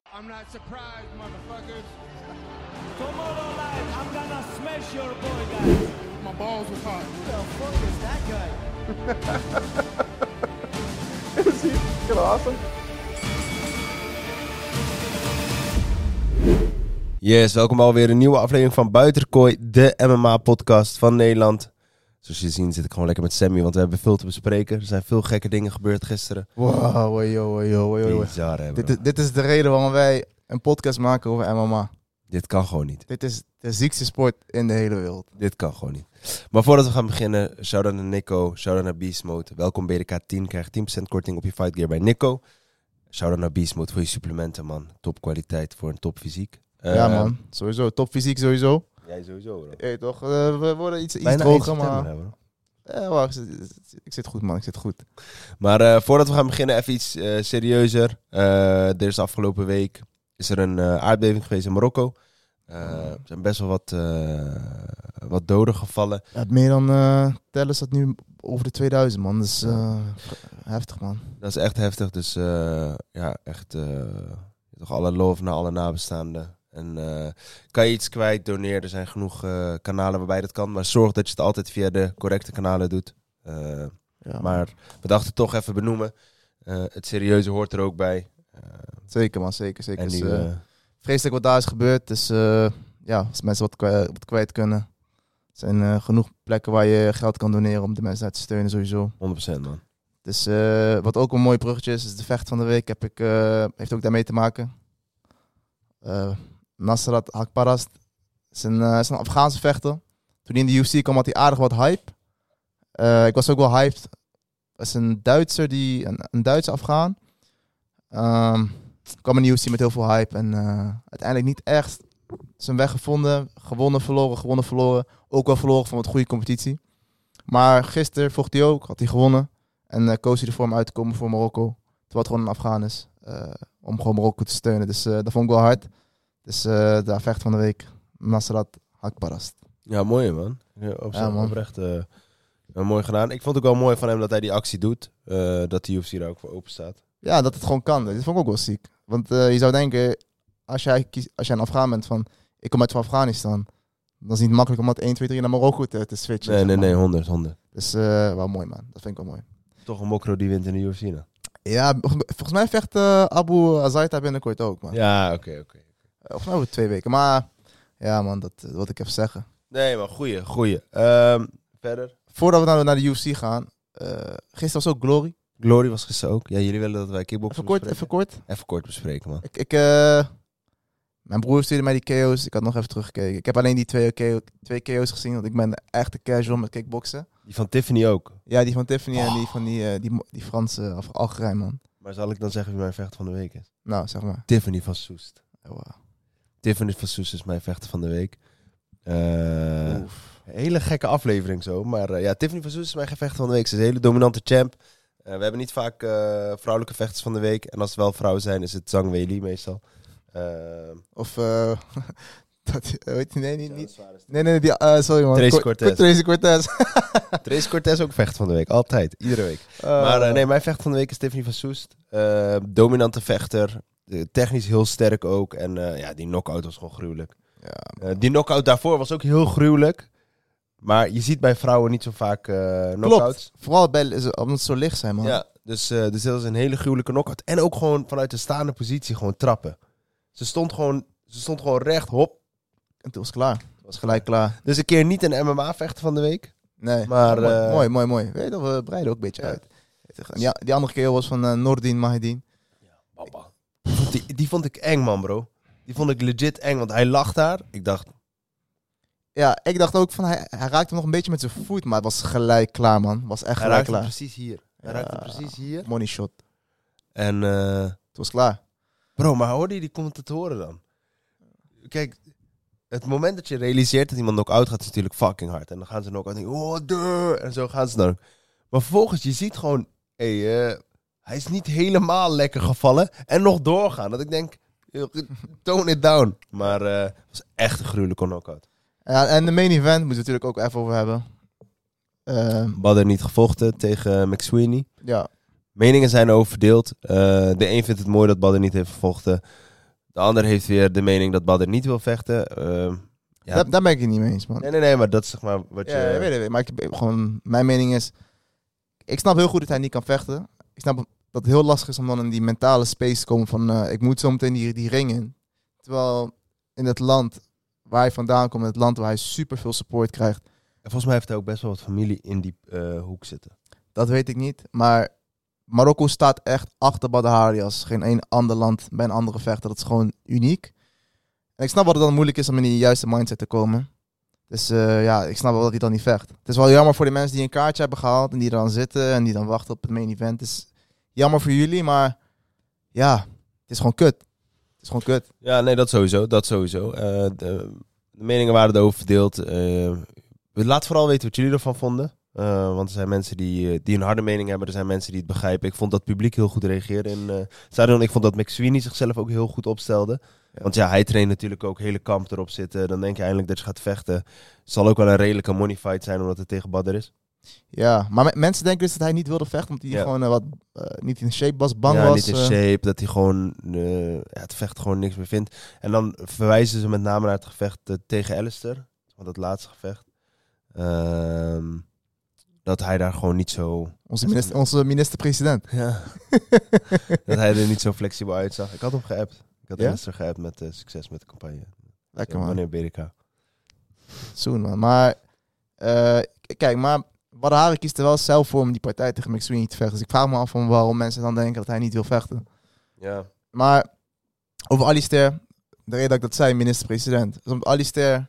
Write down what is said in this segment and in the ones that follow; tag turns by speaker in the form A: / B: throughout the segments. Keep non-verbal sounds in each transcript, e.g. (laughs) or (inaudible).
A: I'm not surprised, motherfuckers.
B: Tomorrow night, I'm gonna smash your boy, guys.
A: My balls was hot.
B: Who the fuck is that guy?
C: Is he fucking awesome?
D: Yes, welkom bij alweer een nieuwe aflevering van Buitenkooi, de MMA-podcast van Nederland. Zoals je ziet zit ik gewoon lekker met Sammy, want we hebben veel te bespreken. Er zijn veel gekke dingen gebeurd gisteren.
C: Wow, wow, yo, wow, yo, wow, yo, wow.
D: Bizar, hè, bro.
C: Dit, is- dit is de reden waarom wij een podcast maken over MMA.
D: Dit kan gewoon niet.
C: Dit is de ziekste sport in de hele wereld.
D: Dit kan gewoon niet. Maar voordat we gaan beginnen, shout-out naar Nico, shout-out naar Beast Mode. Welkom BDK10, krijg 10% korting op je fight gear bij Nico. Shout-out naar Beast Mode voor je supplementen, man. Top kwaliteit voor een top fysiek. Eh,
C: ja man, sowieso. Top fysiek sowieso.
D: Jij sowieso, bro.
C: Je weet toch, eh, we worden iets, iets
D: Bijna
C: droger,
D: 1
C: maar...
D: september, hè, bro.
C: Eh, wacht, ik zit- ik zit goed man, ik zit goed.
D: Maar eh, voordat we gaan beginnen, even iets eh, serieuzer. Eh, er is de afgelopen week is er een eh, aardbeving geweest in Marokko. Eh, er zijn best wel wat, eh, wat doden gevallen.
C: Ja, meer dan eh tellen staat nu over de 2000 man, dus eh, heftig man.
D: Dat is echt heftig. Dus eh, ja, echt eh, toch alle lof naar alle nabestaanden. En eh, kan je iets kwijt, doneer. Er zijn genoeg eh, kanalen waarbij dat kan. Maar zorg dat je het altijd via de correcte kanalen doet. Eh,
C: Ja, man.
D: maar we dachten toch even benoemen. Eh, het serieuze hoort er ook bij. Eh,
C: Zeker man, zeker, zeker.
D: en
C: Dus,
D: nu,
C: eh,
D: eh,
C: vreselijk wat daar is gebeurd. Dus eh, ja, als mensen wat, kwa- wat kwijt kunnen. Er zijn eh, genoeg plekken waar je geld kan doneren om de mensen uit te steunen sowieso.
D: 100% man.
C: Dus eh, wat ook een mooi bruggetje is, is de vecht van de week heb ik, eh, heeft ook daarmee te maken. Eh Nasrat Hakparast is een, eh, is een Afghaanse vechter. Toen hij in de UFC kwam had hij aardig wat hype. Eh, ik was ook wel hyped. Dat is een Duitser, die, een, een Duitse Afghaan. Ehm, kwam in de UFC met heel veel hype en eh, uiteindelijk niet echt zijn weg gevonden. Gewonnen, verloren, gewonnen, verloren. Ook wel verloren van wat goede competitie. Maar gisteren vocht hij ook, had hij gewonnen. En eh, koos hij ervoor om uit te komen voor Marokko. Terwijl het gewoon een Afghaan is. eh, om gewoon Marokko te steunen. Dus eh, dat vond ik wel hard. Dus eh de vecht van de week. Nasrat Hakparast.
D: Ja, mooi man. Ja, op
C: Ja, man.
D: Oprecht eh, eh, mooi gedaan. Ik vond het ook wel mooi van hem dat hij die actie doet. eh, dat de UFC daar ook voor open staat.
C: Ja, dat het gewoon kan. Dit vond ik ook wel ziek. Want eh, je zou denken, als jij, kies, als jij een Afghaan bent van... Ik kom uit van Afghanistan. Dan is het niet makkelijk om dat 1, 2, 3 naar Marokko te, te switchen.
D: Nee,
C: zeg
D: nee,
C: maar.
D: nee, 100, 100.
C: Dus eh, wel mooi man. Dat vind ik wel mooi.
D: Toch een mokro die wint in de UFC. dan.
C: Ja, volgens mij vecht eh, Abu Azaita binnenkort ook man.
D: Ja, oké, oké.
C: Eh, Of nou over twee weken. Maar ja man, dat eh, wil ik even zeggen.
D: Nee, maar goeie, goeie. Ehm, verder.
C: voordat we nou naar de UFC gaan. eh, gisteren was ook Glory.
D: Glory was gisteren ook. Ja, jullie willen dat wij kickboxen
C: Even kort, even
D: bespreken?
C: kort.
D: Even kort bespreken, man.
C: Ik, ik, eh, mijn broer stuurde mij die KO's. Ik had nog even teruggekeken. Ik heb alleen die twee, KO, twee KO's gezien. Want ik ben echt een casual met kickboksen.
D: Die van Tiffany ook.
C: Ja, die van Tiffany en die van die, eh, die, mo- die Franse of Algerijn man.
D: Maar zal ik dan zeggen wie mijn vechter van de week is?
C: Nou, zeg maar.
D: Tiffany van Soest.
C: Oh, wow.
D: Tiffany van Soest is mijn vechter van de week. Eh, Hele gekke aflevering zo. Maar eh, ja, Tiffany van Soes is mijn gevecht van de week. Ze is een hele dominante champ. Eh, we hebben niet vaak eh, vrouwelijke vechters van de week. En als het wel vrouwen zijn, is het Zhang Weili meestal. Eh,
C: Of eh, (laughs) dat, eh, weet je, nee, niet, niet.
D: ja, dat is waar.
C: Nee, nee, die, eh, sorry man.
D: Tracy
C: Cor-
D: Cortez.
C: Tracy Cortez.
D: Trace Cortez ook vecht van de week. Altijd, iedere week. maar eh, nee, mijn vecht van de week is Tiffany van Soest. Eh, dominante vechter. Eh, Technisch heel sterk ook. En eh, ja, die knockout was gewoon gruwelijk.
C: Ja,
D: Eh, die knockout daarvoor was ook heel gruwelijk. Maar je ziet bij vrouwen niet zo vaak eh knockouts.
C: klopt. Vooral bij, omdat ze zo licht zijn man.
D: Ja, dus, eh, dus dat was een hele gruwelijke knockout. En ook gewoon vanuit de staande positie gewoon trappen. Ze stond gewoon, ze stond gewoon recht, hop.
C: En toen was het klaar. Het was gelijk klaar.
D: Dus een keer niet een MMA-vechter van de week.
C: Nee,
D: Maar,
C: mooi,
D: eh,
C: mooi, mooi, mooi. Weet je, wel, we breiden ook een beetje
D: Ja.
C: uit. Ja, die andere keel was van eh, Nordin Mahedin.
D: Die, die vond ik eng, man, bro. Die vond ik legit eng, want hij lag daar. Ik dacht,
C: Ja, ik dacht ook van, hij, hij raakte hem nog een beetje met zijn voet, maar het was gelijk klaar, man. was echt
D: hij
C: gelijk
D: raakte
C: klaar.
D: precies hier. Hij
C: Ja.
D: raakte precies hier.
C: Money shot.
D: En, eh,
C: Het was klaar.
D: bro, maar hoorde je die commentatoren dan? Kijk, het moment dat je realiseert dat iemand knock-out gaat, is natuurlijk fucking hard. En dan gaan ze knock-out en denken, oh, duh, en zo gaan ze dan ook. Maar vervolgens, je ziet gewoon, hé, eh, hij is niet helemaal lekker gevallen. En nog doorgaan. Dat ik denk, (laughs) joh, tone it down. Maar eh, het was echt een gruwelijke knockout.
C: Ja, en de main event moeten we natuurlijk ook even over hebben. Ehm,
D: Badder niet gevochten tegen McSweeney.
C: ja,
D: Eh, Meningen zijn oververdeeld. Eh, de een vindt het mooi dat Badder niet heeft gevochten. De ander heeft weer de mening dat Badr niet wil vechten. Ehm, ja.
C: Daar, daar ben ik het niet mee eens, man.
D: nee, nee, nee, maar dat is zeg maar wat
C: Ja,
D: je...
C: ik weet het, maar ik, heb gewoon, mijn mening is... Ik snap heel goed dat hij niet kan vechten. Ik snap dat het heel lastig is om dan in die mentale space te komen van... eh, ik moet zo meteen die, die ring in. Terwijl in het land waar hij vandaan komt, in het land waar hij superveel support krijgt...
D: En Volgens mij heeft hij ook best wel wat familie in die eh, hoek zitten.
C: Dat weet ik niet, maar Marokko staat echt achter Badr Hari als geen één ander land bij een andere vechter. Dat is gewoon uniek. En ik snap wat het dan moeilijk is om in die juiste mindset te komen. Dus eh, ja, ik snap wel dat hij dan niet vecht. Het is wel jammer voor de mensen die een kaartje hebben gehaald en die er dan zitten en die dan wachten op het main event. Het is jammer voor jullie, maar ja, het is gewoon kut. Het is gewoon kut.
D: Ja, nee, dat sowieso. Dat sowieso. Eh, de, de meningen waren erover verdeeld. Eh, laat vooral weten wat jullie ervan vonden. Eh, want er zijn mensen die, eh, die een harde mening hebben. Er zijn mensen die het begrijpen. Ik vond dat het publiek heel goed reageerde. En eh stadion. ik vond dat McSweeney zichzelf ook heel goed opstelde.
C: Ja.
D: Want ja, hij traint natuurlijk ook hele kamp erop zitten. Dan denk je eindelijk dat je gaat vechten. Het zal ook wel een redelijke money fight zijn omdat het tegen Badder is.
C: Ja, maar me- mensen denken dus dat hij niet wilde vechten omdat hij
D: Ja.
C: gewoon eh, wat, eh, niet in shape was, bang
D: ja,
C: was.
D: niet in
C: eh.
D: shape. Dat hij gewoon eh, ja, het vecht gewoon niks meer vindt. En dan verwijzen ze met name naar het gevecht eh, tegen Alistair. Want dat laatste gevecht. Ehm, dat hij daar gewoon niet
C: (laughs)
D: zo...
C: onze minister- onze minister-president.
D: Ja. (laughs) dat hij er niet zo flexibel uitzag. Ik had hem geappt. Ik had
C: Ja?
D: Alistair geappt met eh, succes met de campagne.
C: Lekker
D: Ja,
C: man.
D: Meneer Berika.
C: Soon, man. Maar, eh, k- kijk, maar Badahari kiest er wel zelf voor om die partij tegen McSweeney te vechten. Dus ik vraag me af om waarom mensen dan denken dat hij niet wil vechten.
D: Ja.
C: Maar over Alistair, de reden dat ik dat zei, minister-president. Dus omdat Alistair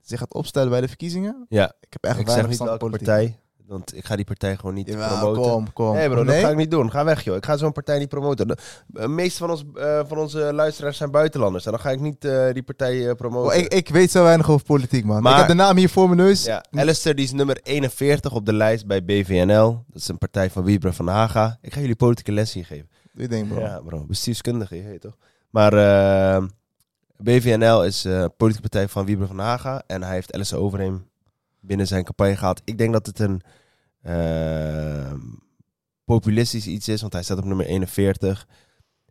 C: zich gaat opstellen bij de verkiezingen.
D: ja.
C: Ik heb echt
D: Ik zeg
C: weinig
D: niet
C: verstand van
D: welke
C: politiek.
D: partij. Want ik ga die partij gewoon niet
C: Jawel,
D: promoten.
C: kom, kom.
D: Nee bro,
C: nee?
D: dat ga ik niet doen. Ga weg joh. Ik ga zo'n partij niet promoten. De de meeste van, ons, eh, van onze luisteraars zijn buitenlanders. En dan ga ik niet eh, die partij eh, promoten.
C: Oh, ik, ik weet zo weinig over politiek, man.
D: Maar-
C: ik heb de naam hier voor mijn neus.
D: ja, Alistair die is nummer 41 op de lijst bij BVNL. Dat is een partij van Wiebra van Haga. Ik ga jullie politieke les hier geven.
C: Ik denk, bro.
D: Ja bro, bestuurskundige, je weet toch. Maar eh, BVNL is eh politieke partij van Wiebra van Haga. En hij heeft Alistair Overheem binnen zijn campagne gehad. Ik denk dat het een eh, populistisch iets is, want hij staat op nummer 41.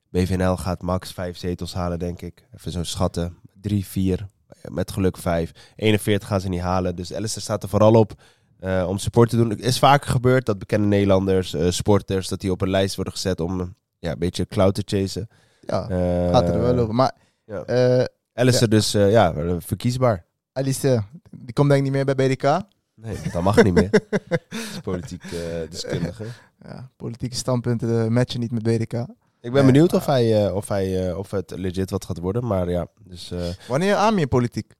D: BVNL gaat max vijf zetels halen, denk ik. Even zo schatten. Drie, vier, met geluk vijf. 41 gaan ze niet halen. Dus Alistair staat er vooral op eh, om support te doen. Het is vaker gebeurd dat bekende Nederlanders, eh, sporters, dat die op een lijst worden gezet om eh, ja, een beetje clout te chasen.
C: Ja,
D: Eh,
C: gaat er wel over. Maar
D: ja.
C: eh
D: Alistair dus, eh, ja, eh, verkiesbaar.
C: Alistair, die komt denk ik niet meer bij BDK.
D: Nee, dat mag niet
C: (laughs)
D: meer. Dat is (laughs) politiek eh, deskundige.
C: Ja, politieke standpunten eh, matchen niet met BDK.
D: Ik ben
C: Nee,
D: benieuwd of, hij, eh, of, hij, eh, of het legit wat gaat worden. Maar ja, dus eh,
C: Wanneer Ami in politiek?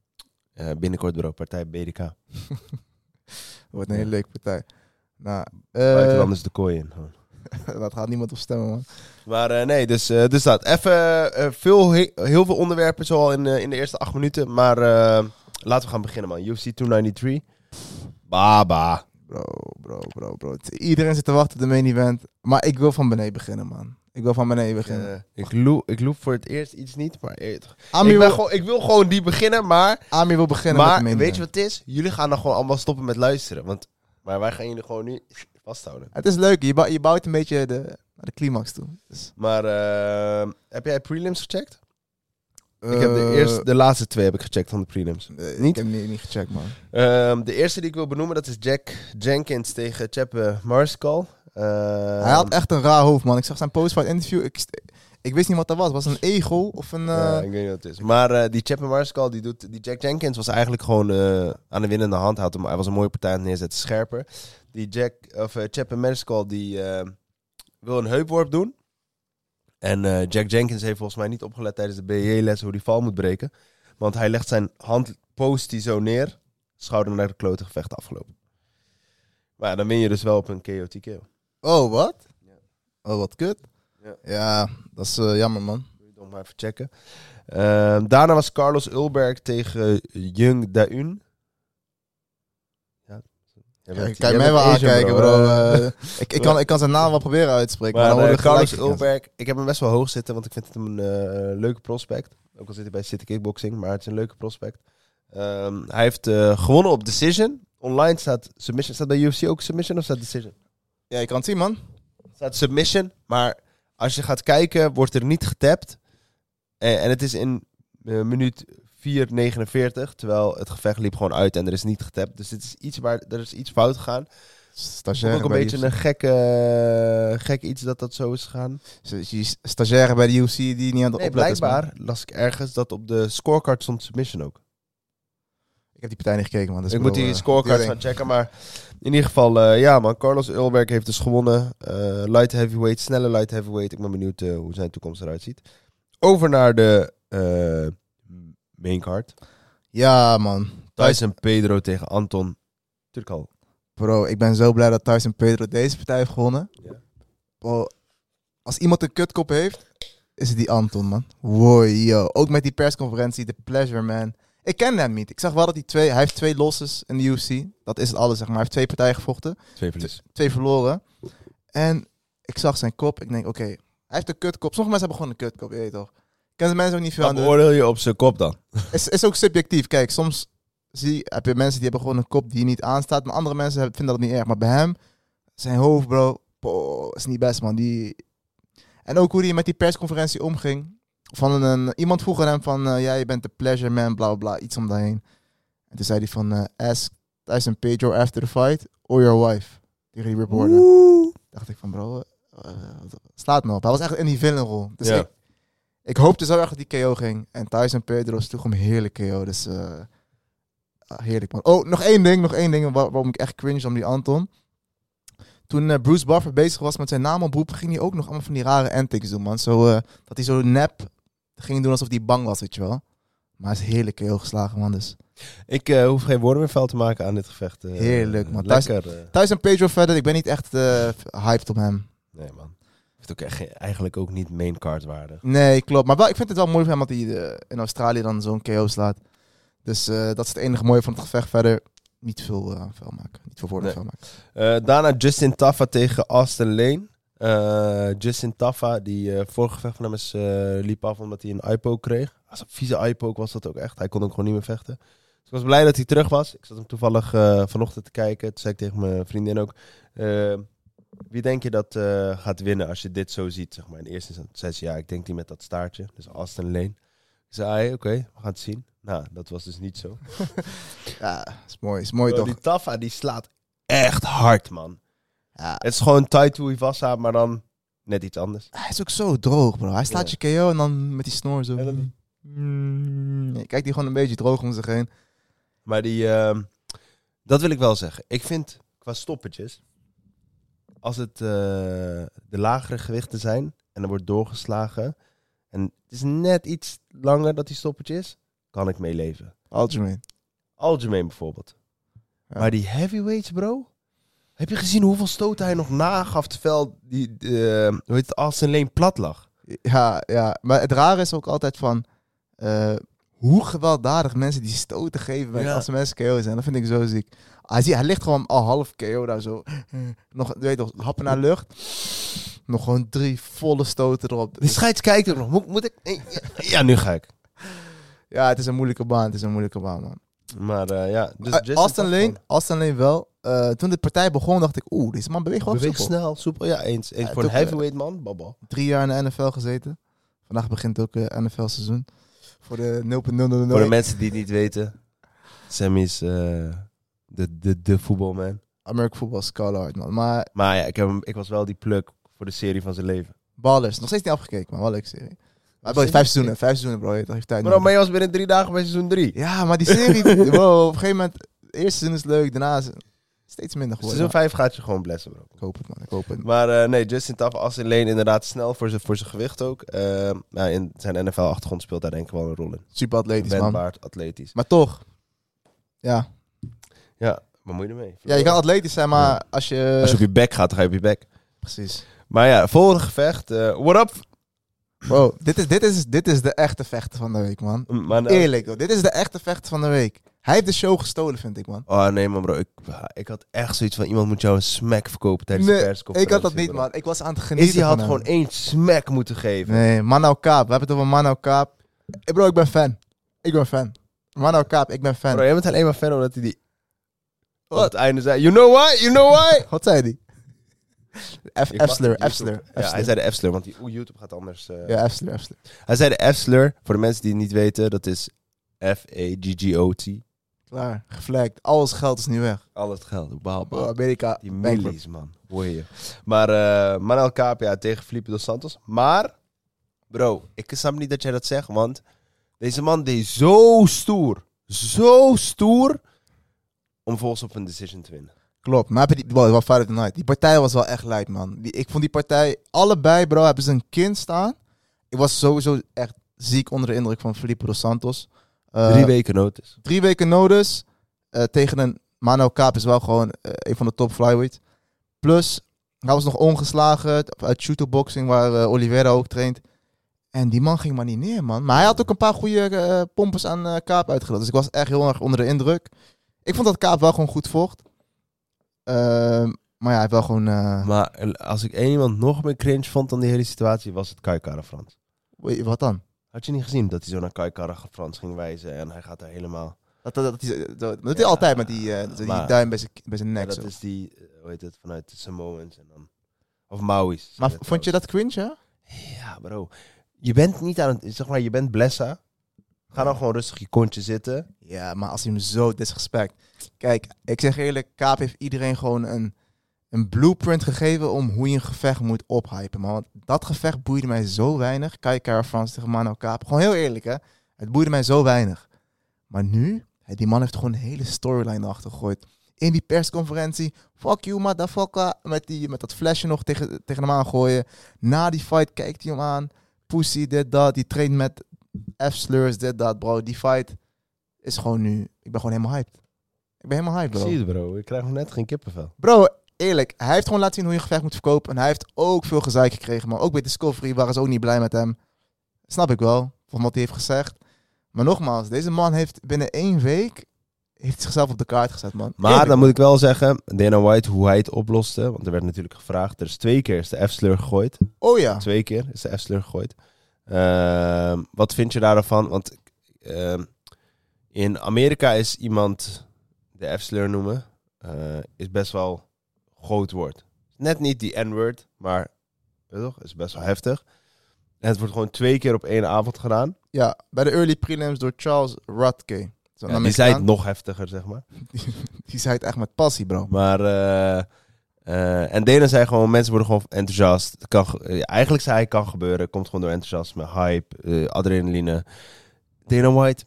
D: eh, binnenkort bro, partij BDK.
C: Wordt een hele leuke partij. Nou, eh
D: Buitenlanders de kooi in. gewoon.
C: (laughs) dat gaat niemand op stemmen, man.
D: Maar eh, nee, dus, eh, dus dat. Even eh, veel, he- heel veel onderwerpen zoal in, eh, in de eerste acht minuten. Maar eh, laten we gaan beginnen man. UFC 293. Baba.
C: Bro, bro, bro, bro. Het- Iedereen zit te wachten op de main event. Maar ik wil van beneden beginnen, man. Ik wil van beneden beginnen.
D: Eh, ik, loop, ik loop voor het eerst iets niet, maar eh, toch.
C: Ami,
D: ik, ben
C: wil,
D: gewoon, ik wil gewoon die beginnen, maar...
C: Ami wil beginnen met de
D: Maar
C: main
D: weet je
C: event.
D: wat het is? Jullie gaan dan gewoon allemaal stoppen met luisteren. Want, maar wij gaan jullie gewoon nu vasthouden.
C: Het is leuk. Je, bou- je bouwt een beetje de, naar de climax toe. Dus,
D: Maar eh, heb jij prelims gecheckt? ik heb de,
C: eh,
D: eerste, de laatste twee heb ik gecheckt van de prelims.
C: eh,
D: niet?
C: Ik heb niet, niet gecheckt, man.
D: Ehm, de eerste die ik wil benoemen, dat is Jack Jenkins tegen eh, Cheppe Marskal.
C: Hij
D: Ehm,
C: had echt een raar hoofd, man. Ik zag zijn post van het interview. Ik, st- ik wist niet wat dat was. Was het een egel of een... eh,
D: ik weet niet wat het is. Maar eh, die Cheppe Marskal, die, doet, die Jack Jenkins was eigenlijk gewoon eh, aan de winnende hand. Hij, had hem- hij was een mooie partij aan het neerzetten, scherper. Die Jack, of eh, Cheppe Marskal, die eh, wil een heupworp doen. En eh, Jack Jenkins heeft volgens mij niet opgelet tijdens de BJ-les hoe die val moet breken. Want hij legt zijn hand, post die zo neer, schouder naar de klote gevecht afgelopen. Maar ja, dan win je dus wel op een KO TKO.
C: Oh, wat? Oh, wat kut.
D: Ja.
C: Ja, dat is eh, jammer, man.
D: Moet je nog maar even checken. Ehm, daarna was Carlos Ulberg tegen Jung Daun. Ja. Jij
C: Ja,
D: bent-
C: kan
D: jij
C: je mij
D: bent
C: wel
D: Asian,
C: aankijken,
D: (laughs)
C: bro.
D: Eh,
C: Eh, ik, ik, kan, ik kan zijn naam wel proberen uit te spreken.
D: maar
C: Maar,
D: eh,
C: dan worden
D: Carlos
C: gelijk gecanceld.
D: Ulberg, ik heb hem best wel hoog zitten, want ik vind het een eh, leuke prospect. Ook al zit hij bij City Kickboxing, maar het is een leuke prospect. Ehm, hij heeft eh, gewonnen op Decision. Online staat Submission. Staat bij UFC ook Submission of staat Decision?
C: Ja, je kan het zien, man.
D: staat submission. Maar als je gaat kijken, wordt er niet getapt. En, en het is in eh, minuut 4.49, terwijl het gevecht liep gewoon uit en er is niet getapt. Dus dit is iets waar, er is iets fout gegaan.
C: Stagiaire
D: ook een
C: bij de
D: beetje
C: UFC.
D: een gekke, gek iets dat dat zo is gegaan.
C: Ze- ze is Stagiaire bij de UFC die niet aan de
D: Nee,
C: opletten is, man.
D: blijkbaar las ik ergens dat op de scorecard stond submission ook.
C: Ik heb die partij niet gekeken, man. Dat is
D: ik moet
C: wel,
D: die
C: eh,
D: scorecards
C: ding.
D: gaan checken, maar in ieder geval, eh, ja man, Carlos Ulberg heeft dus gewonnen. Eh, light heavyweight, snelle light heavyweight. Ik ben benieuwd eh, hoe zijn toekomst eruit ziet. Over naar de eh main card.
C: Ja, man.
D: Tyson Pedro tegen Anton Turkal.
C: Bro, ik ben zo blij dat Tyson Pedro deze partij heeft gewonnen.
D: Ja.
C: Bro, als iemand een kutkop heeft, is het die Anton, man. Wow, yo. Ook met die persconferentie, de pleasure, man. Ik ken hem niet. Ik zag wel dat hij twee... Hij heeft twee losses in de UFC. Dat is het alles, zeg maar. Hij heeft twee partijen gevochten.
D: Twee verlies.
C: Twee verloren. En ik zag zijn kop. Ik denk, oké, hij heeft een kutkop. Sommige mensen hebben gewoon een kutkop, je weet toch. Ik ken de mensen ook niet veel
D: Wat
C: aan doen.
D: beoordeel je op zijn kop dan?
C: is, is ook subjectief. Kijk, soms zie, heb je mensen die hebben gewoon een kop die je niet aanstaat. Maar andere mensen hebben- vinden dat niet erg. Maar bij hem, zijn hoofd, bro, po, is niet best, man. Die... En ook hoe hij met die persconferentie omging. Van een, iemand vroeg aan hem van, eh, ja, je bent de pleasure man, bla, bla, bla. Iets om daarheen. En toen zei hij van, eh, ask Tyson Pedro after the fight or your wife. Tegen die reporter. Dacht ik van, bro, eh, wat- slaat me op. Hij was echt in die villainrol. Dus
D: Ja.
C: ik, ik hoopte zo erg dat die KO ging. En Tyson Pedro sloeg hem heerlijk KO. Dus eh, ah, heerlijk man. Oh, nog één ding, nog één ding waar- waarom ik echt cringe om die Anton. Toen eh, Bruce Buffer bezig was met zijn naamoproep, ging hij ook nog allemaal van die rare antics doen, man. Zo, eh, dat hij zo nep ging doen alsof hij bang was, weet je wel. Maar hij is heerlijk KO geslagen, man. Dus
D: Ik eh, hoef geen woorden meer vuil te maken aan dit gevecht. eh.
C: Heerlijk, man.
D: Lekker. eh.
C: Tyson Pedro verder, ik ben niet echt eh, hyped op hem.
D: nee man. Heeft ook echt, geen- eigenlijk ook niet main card waarde.
C: Nee, klopt. Maar wel, ik vind het wel mooi van hem dat hij eh, in Australië dan zo'n KO slaat. Dus eh, dat is het enige mooie van het gevecht. Verder niet veel eh vuil maken. Niet veel woorden
D: Nee.
C: vuil maken.
D: Eh, daarna Justin Taffa tegen Austin Lane. Eh, Justin Taffa, die eh vorige gevecht van hem is, eh, liep af omdat hij een iPo kreeg. Als een vieze iPo was dat ook echt. Hij kon ook gewoon niet meer vechten. Dus ik was blij dat hij terug was. Ik zat hem toevallig eh, vanochtend te kijken. Toen zei ik tegen mijn vriendin ook. eh, wie denk je dat eh, gaat winnen als je dit zo ziet? Zeg maar. In eerste instantie, ja, ik denk die met dat staartje. Dus Austin Lane. Ik zei, "Ai, oké, we gaan het zien. Nou, dat was dus niet zo.
C: Ja, is mooi. Is mooi
D: Bro,
C: toch?
D: Die Taffa die slaat echt hard, man.
C: Ja.
D: Het is gewoon Taito Iwasa, maar dan net iets anders.
C: Hij is ook zo droog, bro. Hij slaat je KO en dan met die snor zo.
D: En dan-
C: Mm, nee, Kijk die gewoon een beetje droog om zich heen.
D: Maar die, ehm, dat wil ik wel zeggen. Ik vind qua stoppetjes, als het eh, de lagere gewichten zijn en er wordt doorgeslagen en het is net iets langer dat die stoppetje is, kan ik meeleven.
C: Algemeen.
D: Algemeen bijvoorbeeld.
C: Ja.
D: Maar die heavyweights, bro. Heb je gezien hoeveel stoten hij nog nagaf terwijl die, eh, hoe heet het, Austin Lane plat lag?
C: Ja, ja. Maar het rare is ook altijd van... eh, hoe gewelddadig mensen die stoten geven bij
D: Ja.
C: als ze mensen KO zijn. Dat vind ik zo ziek. Hij, zie, hij ligt gewoon al half KO daar zo. Nog, weet je, toch, happen naar lucht. Nog gewoon drie volle stoten erop.
D: Die scheids kijkt ook nog. Moet, moet ik?
C: Eh,
D: Nee, ja, Ja, nu ga ik.
C: Ja, het is een moeilijke baan. Het is een moeilijke baan, man.
D: Maar eh, ja, dus
C: Eh,
D: Justin
C: Austin,
D: Taffa-
C: Lane, Austin Lane wel. Eh, toen de partij begon, dacht ik... Oeh, deze man beweegt wel
D: Beweeg
C: soepel.
D: snel, soepel. Ja, eens. eens
C: Ja,
D: voor een
C: het ook, eh,
D: heavyweight man, baba.
C: Drie jaar in de NFL gezeten. Vandaag begint ook eh NFL-seizoen. Voor de 0.000.
D: Voor de mensen die het niet weten. Sam is eh, de, de, de voetbalman.
C: American Football Scholar, man. Maar
D: Maar ja, ik, heb, hem- ik was wel die pluk voor de serie van zijn leven.
C: Ballers, nog steeds niet afgekeken, maar wel een leuke serie. Maar bro,
D: Nog steeds
C: vijf seizoenen, vijf seizoenen bro, je- dat heeft tijd
D: Bro,
C: nodig.
D: maar je was binnen drie dagen bij seizoen drie. Dus
C: Ja, maar die serie,
D: (laughs)
C: bro, op een gegeven moment, het eerste seizoen is leuk, daarna is het steeds minder geworden.
D: Seizoen vijf gaat je gewoon blessen, bro.
C: Ik hoop het man, ik hoop het.
D: Maar eh, nee, Justin Taffa, Austin Lane inderdaad snel voor zijn voor zijn gewicht ook. Eh, nou, in zijn NFL-achtergrond speelt daar denk ik wel een rol in.
C: Super atletisch man.
D: Wendbaard, atletisch.
C: Maar toch, ja.
D: Ja, wat moet je ermee?
C: Ja, je kan atletisch zijn, maar
D: Ja.
C: als je...
D: Als je op je bek gaat, dan ga je op je bek.
C: Precies.
D: Maar ja, volgende gevecht. eh, what up?
C: Bro, dit is, dit, is, dit is de echte vechter van de week man.
D: Man, eh,
C: Eerlijk bro, dit is de echte vechter van de week. Hij heeft de show gestolen vind ik man.
D: Oh nee man bro, ik, ik had echt zoiets van iemand moet jou een smack verkopen tijdens de
C: Nee,
D: persconferentie.
C: ik had dat niet
D: bro.
C: man, ik was aan het genieten
D: Izzy had
C: van hem.
D: gewoon één smack moeten geven.
C: Nee, Mano Kaap. We hebben het over Mano Kaap. Eh, Bro, ik ben fan. Ik ben fan. Mano Kaap, ik ben fan.
D: Bro, jij bent alleen maar fan omdat hij die... Op het einde zei, you know why, you know why?
C: Wat zei die? F-
D: Ik
C: (laughs)
D: mag
C: F-slur,
D: YouTube.
C: F-slur.
D: Ja, hij zei de F-slur, want die, oeh, YouTube gaat anders. eh.
C: Ja, F-slur, F-slur.
D: Hij zei de F-slur, voor de mensen die het niet weten, dat is F-E-G-G-O-T.
C: Klaar, gevlekt. Al ons geld is nu weg.
D: Al het geld, bam,
C: Oh,
D: bam.
C: Amerika,
D: Die
C: bankrupt.
D: millies, man. Hoor je. Maar eh Manuel Capia tegen Felipe dos Santos. Maar, bro, ik snap niet dat jij dat zegt, want deze man deed zo stoer. Zo stoer om volgens op een decision te winnen.
C: Klopt, maar heb je die, wel, wel Fight of the Night. Die partij was wel echt light, man. Die, ik vond die partij, allebei, bro, hebben ze een kind staan. Ik was sowieso echt ziek onder de indruk van Felipe dos Santos. Eh,
D: Drie weken notice.
C: drie weken nodig tegen een Mano Kaap is wel gewoon eh, een van de top flyweights. Plus, hij was nog ongeslagen uit shooter boxing waar eh, Oliveira ook traint. En die man ging maar niet neer, man. Maar hij had ook een paar goede eh pompers aan eh, Kaap uitgedeeld. Dus ik was echt heel erg onder de indruk. Ik vond dat Kaap wel gewoon goed vocht. Ehm, maar ja, hij heeft wel gewoon... eh,
D: Maar eh, als ik één iemand nog meer cringe vond dan die hele situatie, was het Kai Kara Frans.
C: wait, wat dan?
D: Had je niet gezien dat hij zo naar Kai Kara Frans ging wijzen en hij gaat daar helemaal...
C: Dat, dat, dat, dat, dat doet
D: Ja,
C: hij altijd met die, eh, die
D: maar-
C: duim bij zijn bij zijn
D: Ja,
C: nek.
D: dat
C: zo.
D: is die, eh, hoe heet het, vanuit de Samoans en dan... Of Maui's.
C: Maar vond je dat cringe, hè?
D: Ja, bro. Je bent niet aan het... Zeg maar, je bent blessa. Ga dan gewoon rustig je kontje zitten.
C: Ja, maar als hij hem zo disrespect. Kijk, ik zeg eerlijk, Kaap heeft iedereen gewoon een, een blueprint gegeven om hoe je een gevecht moet ophypen. Man. Want dat gevecht boeide mij zo weinig. Kijk, Cara Frans tegen Mano Kaap. Gewoon heel eerlijk, hè. Het boeide mij zo weinig. Maar nu, hè, die man heeft gewoon een hele storyline erachter gegooid. In die persconferentie, fuck you, motherfucker. Met, die, met dat flesje nog tegen, tegen hem aangooien. Na die fight kijkt hij hem aan. Pussy, dit, dat. Die traint met F-slurs, dit, dat, bro. Die fight is gewoon nu... Ik ben gewoon helemaal hyped. Ik ben helemaal hyped, bro.
D: het, bro. Ik krijg nog net geen kippenvel.
C: Bro, eerlijk, hij heeft gewoon laten zien hoe je een gevecht moet verkopen. En hij heeft ook veel gezeik gekregen, man. Ook bij Discovery waren ze ook niet blij met hem. Snap ik wel, van wat hij heeft gezegd. Maar nogmaals, deze man heeft binnen één week heeft hij zichzelf op de kaart gezet, man.
D: Maar dan moet ik wel zeggen, Dana White, hoe hij het oploste. Want er werd natuurlijk gevraagd. Er is twee keer is de F-slur gegooid.
C: Oh ja,
D: Twee keer is de F-slur gegooid. Ehm, wat vind je daarvan? Want ehm, in Amerika is iemand de F-slur noemen, eh, is best wel groot woord. Net niet die N-word, maar weet je toch, is best wel heftig. En het wordt gewoon twee keer op één avond gedaan.
C: ja, bij de early prelims door Charles Rutke. Zo'n
D: Ja, die
C: Amerikaan.
D: zei het nog heftiger, zeg maar.
C: Die zei het echt met passie, bro.
D: Maar, eh, eh, en Dana zei gewoon, mensen worden gewoon enthousiast. Het kan, ge- eh, eigenlijk zei hij, kan gebeuren. Komt gewoon door enthousiasme, hype, eh, adrenaline. Dana White,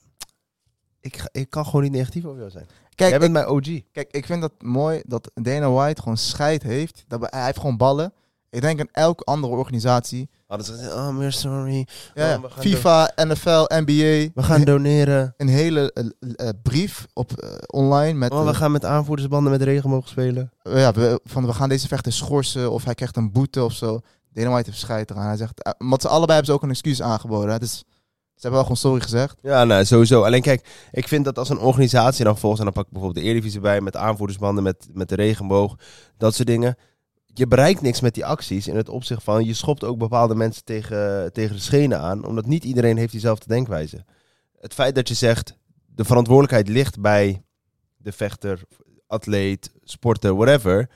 D: ik, ga- ik kan gewoon niet negatief over jou zijn.
C: Kijk,
D: Jij
C: ik,
D: bent mijn OG.
C: kijk, ik vind dat mooi dat Dana White gewoon scheid heeft. Dat, hij heeft gewoon ballen. Ik denk aan elke andere organisatie.
D: Hadden ze gezegd, oh, we're sorry.
C: Ja,
D: Oh, we gaan
C: FIFA, NFL, NBA.
D: We gaan doneren.
C: een hele eh, eh, brief op eh, online met
D: Oh, Oh, we
C: eh,
D: gaan met aanvoerdersbanden met regenboog spelen.
C: ja, we, van we gaan deze vechter schorsen of hij krijgt een boete of zo. Dana White heeft scheid eraan. Hij zegt, eh, want ze allebei hebben ze ook een excuus aangeboden. Hè? Dus ze hebben wel gewoon sorry gezegd.
D: Ja, nou, sowieso. Alleen kijk, ik vind dat als een organisatie dan volgens... en dan pak ik bijvoorbeeld de Eredivisie bij... met aanvoerdersbanden, met, met de regenboog, dat soort dingen. Je bereikt niks met die acties in het opzicht van... je schopt ook bepaalde mensen tegen, tegen de schenen aan... omdat niet iedereen heeft diezelfde denkwijze. Het feit dat je zegt... de verantwoordelijkheid ligt bij de vechter, atleet, sporter, whatever...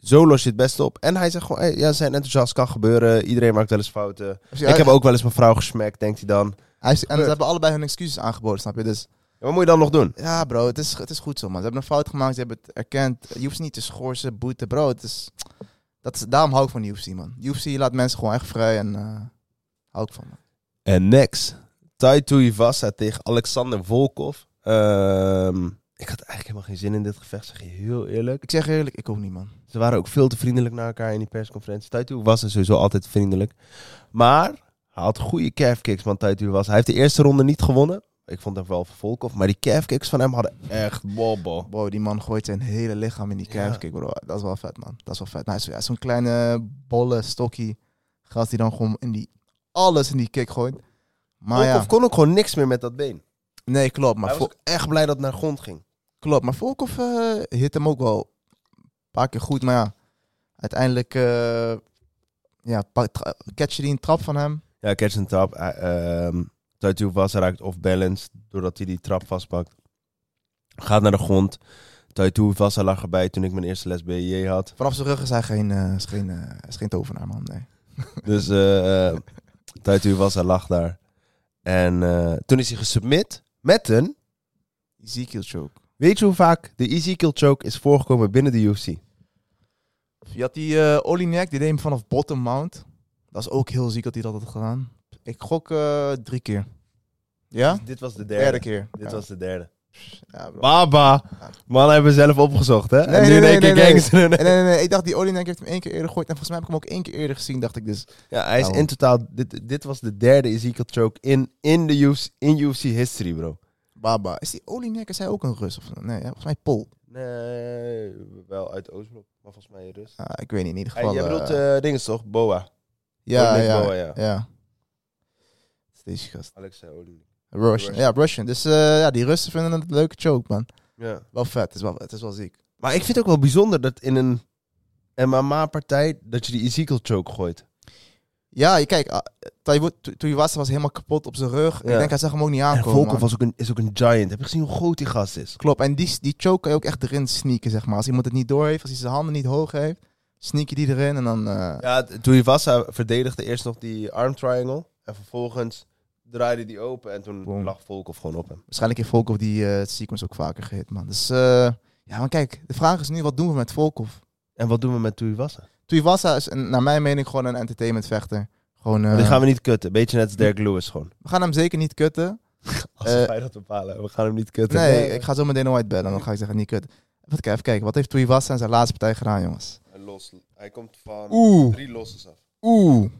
D: Zo los je het best op. En hij zegt gewoon, hey, ja, ze zijn enthousiast, kan gebeuren. Iedereen maakt wel eens fouten.
C: Dus
D: ik
C: hij-
D: heb ook wel eens mijn vrouw gesmekt, denkt hij dan.
C: hij is- en ze hebben allebei hun excuses aangeboden, snap je? Dus
D: Ja, Wat moet je dan nog doen?
C: ja, bro, het is, het is goed zo, man. Ze hebben een fout gemaakt, ze hebben het erkend. Je hoeft ze niet te schorsen, boete, bro. Het is, dat is, daarom hou ik van de UFC, man. UFC laat mensen gewoon echt vrij en eh, hou ik van, man.
D: En next, Taito Ivasa tegen Alexander Volkov. Ehm, ik had eigenlijk helemaal geen zin in dit gevecht, zeg je heel eerlijk.
C: Ik zeg eerlijk, ik ook niet, man.
D: Ze waren ook veel te vriendelijk naar elkaar in die persconferentie. Taito Ivasa is sowieso altijd vriendelijk. Maar hij had goede calf kicks, man, Taito Ivasa. Hij heeft de eerste ronde niet gewonnen. Ik vond hem wel van Volkov. Maar die calf kicks van hem hadden echt bobbel.
C: Bro, die man gooit zijn hele lichaam in die
D: Ja.
C: kijf. Kijk, bro, dat is wel vet, man. Dat is wel vet. Maar hij is- hij is zo'n kleine bolle stokkie. Gast die dan gewoon in die, alles in die kick gooit. Maar
D: Volkov
C: ja,
D: kon ook gewoon niks meer met dat been.
C: nee, klopt. Maar,
D: hij was
C: Vol-
D: ook echt blij dat het naar grond ging.
C: klopt, maar Volkov eh, hit hem ook wel een paar keer goed. Maar ja, uiteindelijk eh ja, pa- tra- catch je die een trap van hem.
D: Ja, catch and trap. eh, ehm Taito was raakt off balance doordat hij die trap vastpakt. Gaat naar de grond. Taito Vassa lag erbij toen ik mijn eerste les BJ had.
C: Vanaf zijn rug is hij geen, eh, is geen, eh, is geen tovenaar, man. Nee.
D: Dus eh eh, Taito Vassa lag daar. En eh, toen is hij gesubmit met een...
C: Ezekiel choke.
D: Weet je hoe vaak de Ezekiel choke is voorgekomen binnen de UFC?
C: Je had die eh Olinek, die deed hem vanaf bottom mount. Dat is ook heel ziek dat hij dat had gedaan. Ik gok eh, drie keer. Ja?
D: Dit was de
C: Derde keer. Ja.
D: Dit was de derde.
C: Ja, bro.
D: Baba! Man, hebben we zelf opgezocht, hè?
C: Nee,
D: en nu
C: nee,
D: in één
C: nee,
D: keer
C: nee,
D: kijken ze
C: Nee, nee, nee, nee. Ik dacht, die Olinek heeft hem één keer eerder gegooid. En volgens mij heb ik hem ook één keer eerder gezien, dacht ik dus.
D: Ja, hij is
C: Nou.
D: in totaal... Dit, dit was de derde Ezekiel choke in, in, de UFC, in UFC history, bro.
C: Baba. Is die Olinek, is hij ook een Rus? Of, nee, ja, volgens mij Pol.
D: Nee, wel uit Oostblok. Maar volgens mij Rus.
C: Ah, ik weet niet, in ieder
D: Hey,
C: geval...
D: jij bedoelt
C: eh,
D: eh dingen toch? Boa.
C: ja,
D: Olinik
C: ja,
D: Boa,
C: ja,
D: ja. eh,
C: Het is Deze gast.
D: Alexei Olie.
C: Russian.
D: Russian.
C: Ja, Russian. Dus eh, ja, die Russen vinden het een leuke choke, man.
D: Ja.
C: Wel vet, het is wel, het is wel ziek.
D: Maar ik vind het ook wel bijzonder dat in een MMA-partij... dat je die Ezekiel choke gooit.
C: Ja, je- kijk, ah, Toen was was helemaal kapot op zijn rug.
D: Ja.
C: Ik denk, hij zag hem ook niet
D: En
C: aankomen.
D: Volkov
C: man.
D: was ook een, is ook een giant. Heb je gezien hoe groot die gast is?
C: Klopt, en die, die choke kan je ook echt erin sneaken, zeg maar. Als iemand het niet door heeft, als hij zijn handen niet hoog heeft, sneak je die erin en dan... eh,
D: Ja, t- Tuivasa verdedigde eerst nog die arm triangle. En vervolgens draaide die open. En toen
C: Boom.
D: lag Volkov gewoon op hem.
C: Waarschijnlijk heeft Volkov die eh, sequence ook vaker gehit, man. Dus eh, ja, maar kijk, de vraag is nu, wat doen we met Volkov?
D: En wat doen we met Tuivasa?
C: Tuivasa is, een- naar mijn mening, gewoon een entertainmentvechter. Gewoon, eh,
D: Die gaan we niet kutten. Beetje net als Derek Lewis gewoon.
C: we gaan hem zeker niet kutten.
D: Als
C: Eh,
D: wij dat bepalen. We gaan hem niet kutten.
C: Nee, ik ga zo meteen White bellen. Dan ga ik zeggen, niet kut. Even kijken, even kijken. Wat heeft Tuivasa in zijn laatste partij gedaan, jongens?
D: Hij, los, hij komt van
C: Oeh,
D: drie losses af.
C: oeh.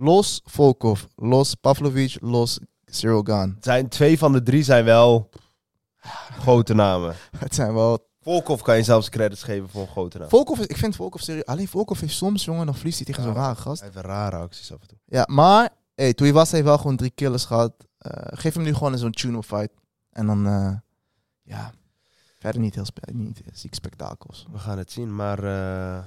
C: Los Volkov, los Pavlovic, los Cyril Gaan.
D: Zijn, twee van de drie zijn wel grote namen.
C: (laughs) Het zijn wel...
D: Volkov kan je zelfs credits geven voor een grote naam.
C: Volkov, is- ik vind Volkov serieus... Alleen Volkov heeft soms, jongen, dan verliest hij tegen zo'n
D: Ja.
C: rare gast.
D: Hij heeft rare acties af en toe.
C: Ja, maar... Hey, Tuivasa heeft wel gewoon drie killers gehad. Eh, geef hem nu gewoon in zo'n tune-up fight. En dan... eh, ja... Verder niet heel spe- niet eh, ziek spektakels.
D: We gaan het zien, maar... eh,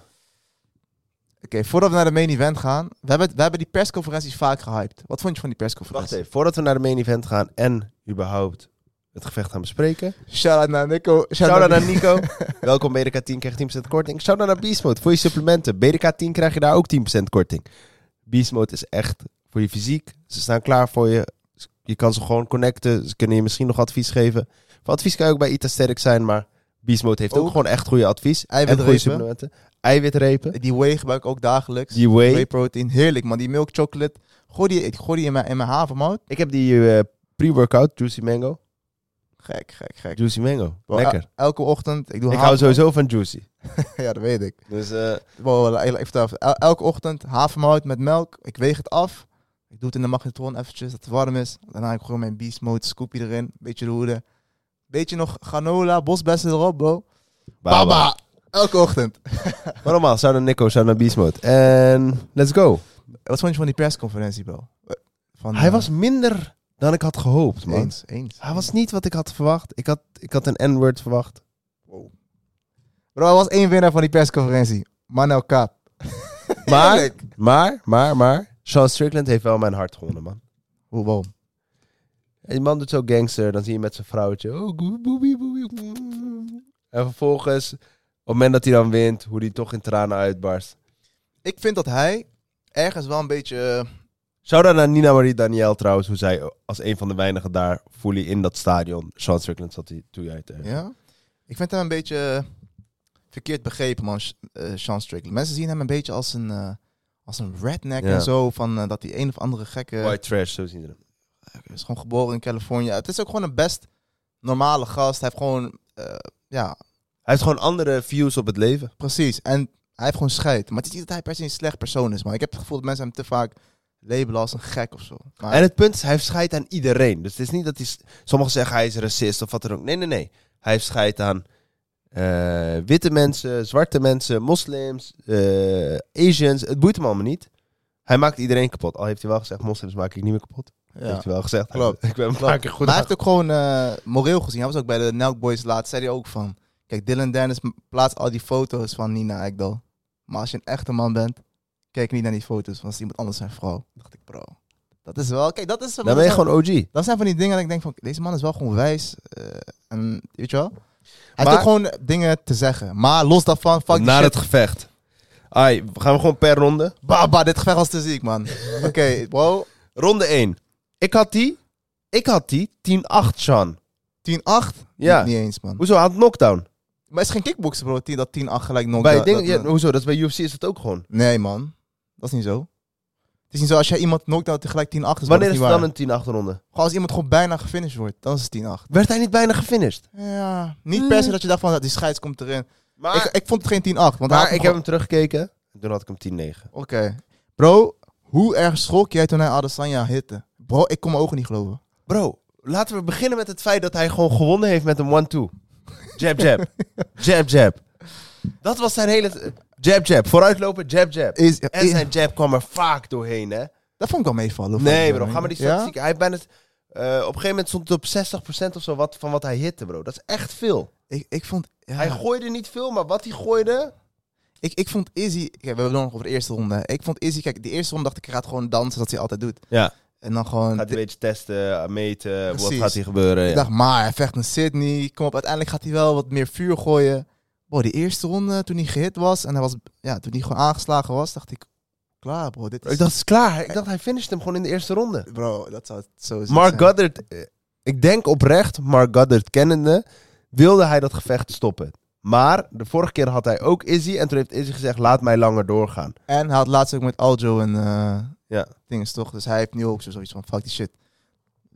C: Oké, voordat we naar de main event gaan. We hebben, we hebben die persconferenties vaak gehyped. Wat vond je van die
D: Wacht
C: persconferentie?
D: even, voordat we naar de main event gaan en überhaupt het gevecht gaan bespreken.
C: Shout-out naar Nico.
D: Shout-out naar Nico. (laughs) Welkom BDK10, krijg je 10% korting. Shout-out naar Beast Mode voor je supplementen. BDK10 krijg je daar ook 10% korting. Beast Mode is echt voor je fysiek. Ze staan klaar voor je. Je kan ze gewoon connecten. Ze kunnen je misschien nog advies geven. Voor advies kan je ook bij Itasterk zijn, maar Beast Mode heeft ook,
C: Ook.
D: gewoon echt goede advies. En goede
C: Eiwitrepen.
D: supplementen. Eiwitrepen.
C: Die whey gebruik ik ook dagelijks.
D: Die whey.
C: Whey protein. Heerlijk man. Die milk chocolate. Gooi die, ik gooi die in mijn, in mijn havermout.
D: Ik heb die eh, pre-workout, Juicy Mango. ah,
C: Gek, gek, gek.
D: Juicy Mango.
C: Wel,
D: Lekker.
C: el- elke ochtend. Ik doe
D: Ik hou
C: havermout.
D: sowieso van Juicy.
C: (laughs) ja, dat weet ik.
D: Dus eh,
C: Wow, ik vertel even. El- elke ochtend havermout met melk. Ik weeg het af. Ik doe het in de magnetron eventjes, dat het warm is. Daarna ik gooi mijn beast mode scoopje erin. Beetje roeren. Beetje nog granola, bosbessen erop, bro.
D: baba.
C: Baba. Elke ochtend.
D: Maar normaal, zou naar Nico, zou naar Beast Mode. En let's go.
C: Wat vond je van die persconferentie, bro? Van,
D: Hij
C: eh,
D: was minder dan ik had gehoopt, man.
C: eens, eens.
D: Hij was niet wat ik had verwacht. Ik had, ik had een N-word (laughs) verwacht.
C: Bro, er was één winnaar van die persconferentie. Manel Kaap.
D: Maar, maar, maar, maar. Sean Strickland heeft wel mijn hart gewonnen, man.
C: Hoe, waarom?
D: En die man doet zo gangster, dan zie je met zijn vrouwtje. Oh, goe- boebie, boebie. En vervolgens, op het moment dat hij dan wint, hoe hij toch in tranen uitbarst.
C: Ik vind dat hij ergens wel een beetje... eh,
D: Shout-out naar Nina Marie Daniel trouwens, hoe zij als een van de weinigen daar, fully in dat stadion. Sean Strickland zat hij toen uit.
C: eh, ja. Ik vind hem een beetje eh, verkeerd begrepen, man, Sh- eh, Sean Strickland. Mensen zien hem een beetje als een, eh, als een redneck
D: Ja.
C: en zo. Van eh, dat hij een of andere gekke...
D: White trash, zo zien ze hem.
C: Hij is gewoon geboren in Californië. Het is ook gewoon een best normale gast. Hij heeft gewoon... eh, ja,
D: Hij heeft gewoon andere views op het leven.
C: Precies. En hij heeft gewoon scheid. Maar het is niet dat hij per se een slecht persoon is, man. Ik heb het gevoel dat mensen hem te vaak labelen als een gek of zo. Maar
D: En het punt is, hij heeft scheid aan iedereen. Dus het is niet dat hij... s- Sommigen zeggen hij is racist of wat dan ook. Nee, nee, nee. Hij heeft scheid aan eh, witte mensen, zwarte mensen, moslims, eh, Asians. Het boeit hem allemaal niet. Hij maakt iedereen kapot. Al heeft hij wel gezegd, moslims maak ik niet meer kapot.
C: ja.
D: Heeft hij wel gezegd.
C: Klopt.
D: (laughs) Ik ben een paar
C: Klopt.
D: keer goed
C: maar hij heeft ook gewoon eh, moreel gezien. Hij was ook bij de Nelk Boys laatst. Zei hij ook van... Kijk, Dylan Dennis plaatst al die foto's van Nina Ekdal. Maar als je een echte man bent, kijk niet naar die foto's. Want dat is iemand anders zijn vrouw. dacht ik, bro. Dat is wel... Kijk, dat is...
D: Dan ben je gewoon OG.
C: Dat zijn van die dingen dat ik denk van... Deze man is wel gewoon wijs. eh, en weet je wel? Hij
D: Maar-
C: heeft ook gewoon dingen te zeggen. Maar los daarvan, fuck die
D: Na
C: shit.
D: het gevecht. Ai, gaan we gewoon per ronde.
C: Baba, dit gevecht was te ziek,
D: (laughs)
C: man. Oké, bro.
D: Ronde 1. Ik had die. Ik had die 10-8, Sean.
C: 10-8?
D: Ja.
C: Niet eens, man.
D: Hoezo? Hij had knockdown.
C: Maar het is geen kickboksen, bro. 10, dat 10-8 gelijk knock
D: Bij
C: dat-
D: dingen-
C: dat-
D: ja, hoezo? Dat is bij UFC is dat ook gewoon.
C: Nee, man. Dat is niet zo. Het is niet zo als jij iemand knockdown tegelijk 10-8 is. maar dat
D: Wanneer
C: is
D: is
C: niet
D: het dan
C: waar.
D: een 10-8 ronde?
C: Gewoon als iemand gewoon bijna gefinished wordt, dan is het 10-8.
D: Werd hij niet bijna gefinished?
C: Ja. Niet per se dat je dacht van, die scheids komt erin.
D: Maar
C: ik, ik vond het geen 10-8. Want hij had
D: Maar
C: hem
D: ik heb hem teruggekeken. Toen had ik hem 10-9.
C: Oké. Bro, hoe erg schrok jij toen hij Adesanya hitte? Bro, ik kon mijn ogen niet geloven.
D: Bro, laten we beginnen met het feit dat hij gewoon gewonnen heeft met een 1-2. Jab, (laughs) jab. jab, jab. Dat was zijn hele... Jab, jab. Vooruitlopen, jab, jab.
C: Is,
D: En
C: is-
D: zijn jab kwam er vaak doorheen, hè.
C: dat vond ik wel meevallen. of
D: Nee,
C: niet,
D: bro. Ga maar die
C: Ja?
D: statistieken. Hij bijna... eh, op een gegeven moment stond het op 60% of zo wat, van wat hij hitte, bro. Dat is echt veel.
C: Ik, ik vond... ja,
D: Hij gooide niet veel, maar wat hij gooide...
C: ik, ik vond Izzy... Kijk, we hebben het nog over de eerste ronde. Ik vond Izzy... Kijk, de eerste ronde dacht ik, hij gaat gewoon dansen, dat hij altijd doet.
D: Ja.
C: En dan gewoon...
D: Gaat hij een beetje testen, meten, wat
C: Precies.
D: gaat hier gebeuren.
C: Ik
D: Ja.
C: dacht, maar hij vecht een Sydney. Kom op, uiteindelijk gaat hij wel wat meer vuur gooien. Bro, die eerste ronde, toen hij gehit was en hij was, ja, toen hij gewoon aangeslagen was, dacht ik, klaar bro, dit is...
D: Ik dacht, het is klaar. Ik dacht, hij finished hem gewoon in de eerste ronde.
C: Bro, dat zou zo ziek
D: Mark
C: zijn.
D: Goddard, eh, ik denk oprecht, Mark Goddard kennende, wilde hij dat gevecht stoppen. Maar de vorige keer had hij ook Izzy en toen heeft Izzy gezegd, laat mij langer doorgaan.
C: En hij had laatst ook met Aljo en eh
D: Ja.
C: dingen toch, dus hij heeft nu ook zo- zoiets van, fuck die shit.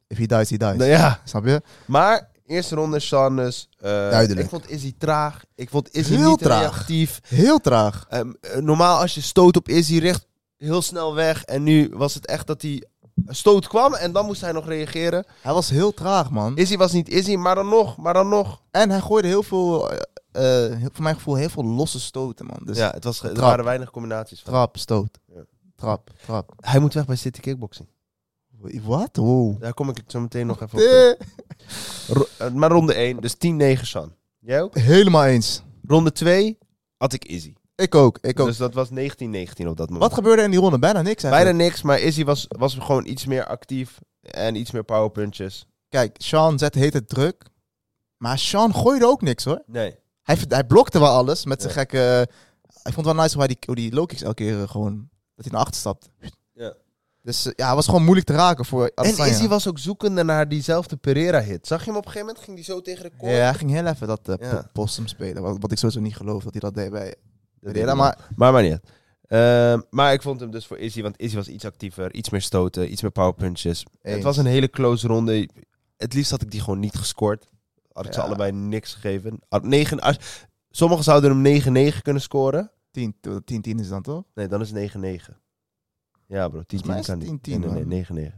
C: If he dies, he dies.
D: Nou ja,
C: Snap je?
D: maar eerste ronde, Sanders. eh,
C: Duidelijk.
D: Ik vond Izzy traag. Ik vond Izzy
C: Heel
D: niet
C: traag.
D: reactief.
C: Heel traag.
D: Ehm, eh, normaal als je stoot op Izzy richt, heel snel weg. En nu was het echt dat hij stoot kwam en dan moest hij nog reageren.
C: Hij was heel traag, man.
D: Izzy was niet Izzy, maar dan nog, maar dan nog.
C: En hij gooide heel veel, eh, eh, heel- voor mijn gevoel, heel veel losse stoten, man. Dus
D: ja, het was, er
C: trap.
D: waren weinig combinaties. Van.
C: trap, stoot.
D: Ja.
C: Trap, trap.
D: Hij moet weg bij City Kickboxing.
C: Wat? Wow.
D: Daar kom ik zo meteen nog even op. terug.
C: Eh,
D: Ro- eh, maar ronde 1, dus 10-9 San. Jij ook?
C: Helemaal eens.
D: Ronde 2 had ik Izzy.
C: Ik ook, ik ook.
D: Dus dat was 19-19 op dat moment.
C: Wat gebeurde in die ronde? Bijna niks
D: Bijna
C: eigenlijk.
D: niks, maar Izzy was, was gewoon iets meer actief en iets meer powerpunches.
C: Kijk, Sean zette heet het druk. Maar Sean gooide ook niks hoor.
D: Nee.
C: Hij, verd- hij blokte wel alles met zijn
D: Ja.
C: gekke... ik vond het wel nice hoe hij die, hoe die low kicks elke keer eh, gewoon... Dat hij naar achter stapt.
D: Ja.
C: Dus eh, ja, hij was gewoon moeilijk te raken voor
D: En
C: Adesanya.
D: Izzy was ook zoekende naar diezelfde Pereira-hit. Zag je hem op een gegeven moment? Ging hij zo tegen de
C: Ja,
D: koor?
C: hij ging heel even dat eh,
D: Ja.
C: po- possum spelen. Wat, wat ik sowieso niet geloof dat hij dat deed bij
D: Dat deed
C: Pereira,
D: hij
C: Maar
D: Maar maar niet. uit. Ehm, maar ik vond hem dus voor Izzy, want Izzy was iets actiever, iets meer stoten, iets meer powerpunches.
C: Eens.
D: Het was een hele close ronde. Het liefst had ik die gewoon niet gescoord. Had ik ze
C: Ja.
D: allebei niks gegeven. Had negen, als, sommigen zouden hem 9-9 kunnen scoren.
C: 10 10 10 is dan toch?
D: Nee, dan is het 9-9. Ja bro, 10-10
C: mij is
D: kan
C: het
D: niet.
C: 10-10,
D: nee, nee,
C: man.
D: nee, 9-9.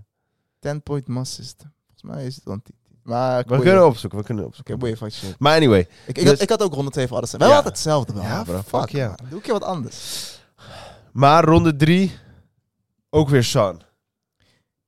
C: 10 point mass is het. Volgens mij is het dan 10 Maar
D: We kunnen opzoeken, we kunnen opzoeken.
C: Oké, boeien, fuck shit.
D: Maar anyway,
C: Ik, ik,
D: Dus-
C: had, ik had ook ronde 2 voor Adesanya. Wij
D: Ja.
C: hadden hetzelfde wel.
D: Ja,
C: hè?
D: bro, fuck ja.
C: man. Doe een keer wat anders.
D: maar ronde 3, ook weer Sean.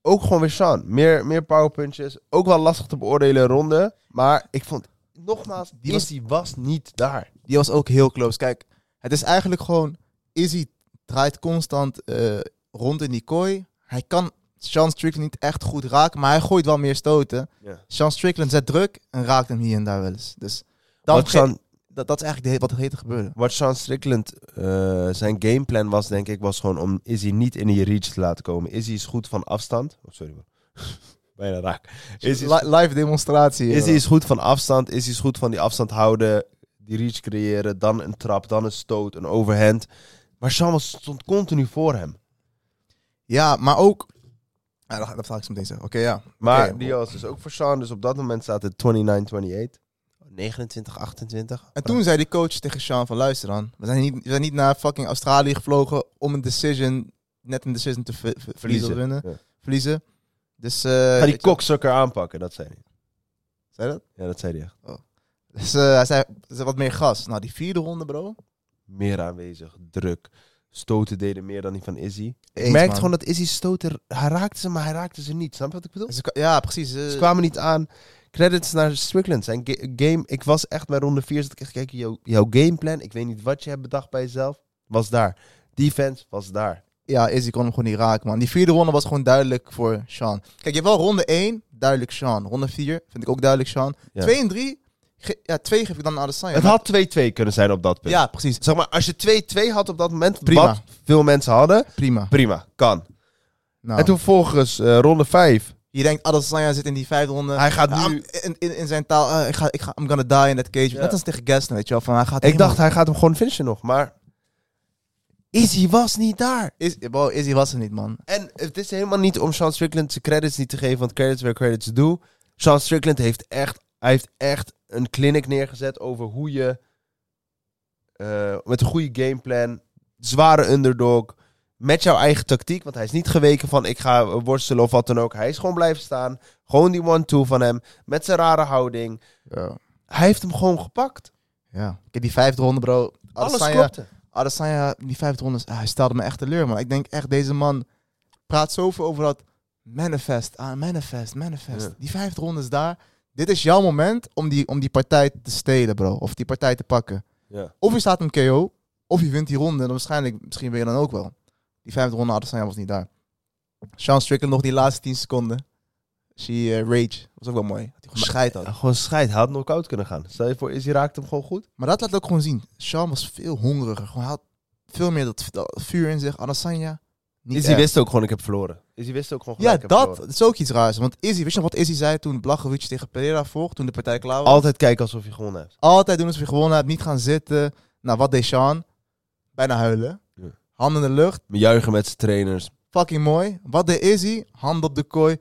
D: Ook gewoon weer Sean. Meer, meer powerpunches. Ook wel lastig te beoordelen ronde. Maar ik vond, nogmaals,
C: Die
D: die
C: was-
D: Izzy was niet daar.
C: Die was ook heel close. Kijk, het is eigenlijk gewoon... Izzy draait constant eh, rond in die kooi. Hij kan Sean Strickland niet echt goed raken, maar hij gooit wel meer stoten.
D: Ja.
C: Sean Strickland zet druk en raakt hem hier en daar wel eens. Dus dan
D: Wat
C: ge-
D: Sean,
C: dat, dat is eigenlijk de he- wat het heette gebeurde.
D: wat Sean Strickland, eh, zijn gameplan was, denk ik, was gewoon om Izzy niet in die reach te laten komen. Izzy is goed van afstand. Oh, sorry man. (laughs) Bijna raak. Izzy is,
C: Li- live demonstratie. hier,
D: Izzy
C: hoor.
D: is goed van afstand. Izzy is goed van die afstand houden. Die reach creëren. Dan een trap, dan een stoot, een overhand. Maar Sean was, stond continu voor hem.
C: Ja, maar ook... Ja, dat, dat ga ik zo meteen zeggen. Oké, ja.
D: Maar
C: Oké.
D: die was dus ook voor Sean. Dus op dat moment staat het 29-28. 29, 28.
C: En toen zei die coach tegen Sean van luister dan, we zijn niet, we zijn niet naar fucking Australië gevlogen om een decision, net een decision te ver- ver- verliezen. of winnen,
D: Ja.
C: verliezen. Dus, eh,
D: Ga die
C: weet je-
D: koksukker aanpakken, dat zei hij.
C: Zei dat?
D: Ja, dat zei hij echt.
C: Dus eh, hij zei, zei wat meer gas. Nou, die vierde ronde bro.
D: meer aanwezig, druk. Stoten deden meer dan die van Izzy.
C: Eens,
D: Ik merkte
C: man.
D: gewoon dat Izzy stoten... Hij raakte ze, maar hij raakte ze niet. Snap je wat ik bedoel?
C: Ze kwa- ja, precies. eh,
D: Ze kwamen niet aan. Credits naar Strickland. Zijn ga- game... Ik was echt bij ronde 4 zat ik echt te kijken. Jouw, jouw gameplan, ik weet niet wat je hebt bedacht bij jezelf, was daar. Defense was daar.
C: ja, Izzy kon hem gewoon niet raken, man. Die vierde ronde was gewoon duidelijk voor Sean. Kijk, je hebt wel ronde 1, duidelijk Sean. Ronde 4 vind ik ook duidelijk Sean.
D: Ja.
C: 2 en 3 Ge- ja, twee geef ik dan aan Adesanya.
D: Het
C: Maar-
D: had 2-2 kunnen zijn op dat punt.
C: Ja, precies.
D: Zeg maar, als je 2-2 had op dat moment,
C: Prima.
D: wat veel mensen hadden,
C: Prima.
D: prima, kan.
C: Nou,
D: En toen volgens eh, ronde 5.
C: je denkt "Ah, Adesanya zit in die vijfde ronde.
D: Hij gaat
C: Ah,
D: nu-
C: In, in, in zijn taal, eh, ik, ga, ik ga, I'm gonna die in that cage.
D: Ja.
C: Net als tegen Gaston, weet je wel. Van, hij gaat
D: Ik dacht, hij gaat hem gewoon finishen nog, maar... Izzy was niet daar.
C: Is, bro, Izzy was er niet, man.
D: En het is helemaal niet om Sean Strickland zijn credits niet te geven, want credits where credits due. Sean Strickland heeft echt, hij heeft echt een clinic neergezet over hoe je eh, met een goede gameplan, zware underdog, met jouw eigen tactiek, want hij is niet geweken van ik ga worstelen of wat dan ook. Hij is gewoon blijven staan, gewoon die one-two van hem, met zijn rare houding.
C: Ja.
D: Hij heeft hem gewoon gepakt.
C: ja. Kijk, die vijfde ronde, bro.
D: Alles
C: Adesanya-
D: klopte.
C: Adesanya, die vijfde ronde, hij stelde me echt teleur, man. Ik denk echt, deze man praat zoveel over dat manifest, ah, manifest, manifest.
D: Ja.
C: Die vijfde ronde is daar. Dit is jouw moment om die, om die partij te stelen, bro. Of die partij te pakken.
D: Ja.
C: Of je staat hem KO, of je wint die ronde. En dan waarschijnlijk, misschien ben je dan ook wel. Die vijfde ronde, Adesanya was niet daar. Sean Strickland nog die laatste tien seconden. She eh, rage. Was ook wel mooi. Dat hij gewoon scheid had.
D: Gewoon scheid, hij had knock-out kunnen gaan. Stel je voor, Izzy raakt hem gewoon goed.
C: Maar dat laat ook gewoon zien. Sean was veel hongeriger. Gewoon, hij had veel meer dat, dat vuur in zich. Adesanya, niet
D: Izzy
C: echt.
D: wist ook gewoon, ik heb verloren. Izzy wist ook gewoon,
C: Ja,
D: gelijk, ik heb
C: dat,
D: verloren.
C: is ook iets raars. Want Izzy, weet je nog wat Izzy zei toen Blachowicz tegen Pereira vocht? Toen de partij klaar was?
D: Altijd kijken alsof je gewonnen hebt.
C: Altijd doen alsof je gewonnen hebt. Niet gaan zitten. Nou, wat deed Sean? Bijna huilen.
D: Ja.
C: Handen in de lucht.
D: Juichen met zijn trainers.
C: Fucking mooi. Wat deed Izzy? Hand op de kooi.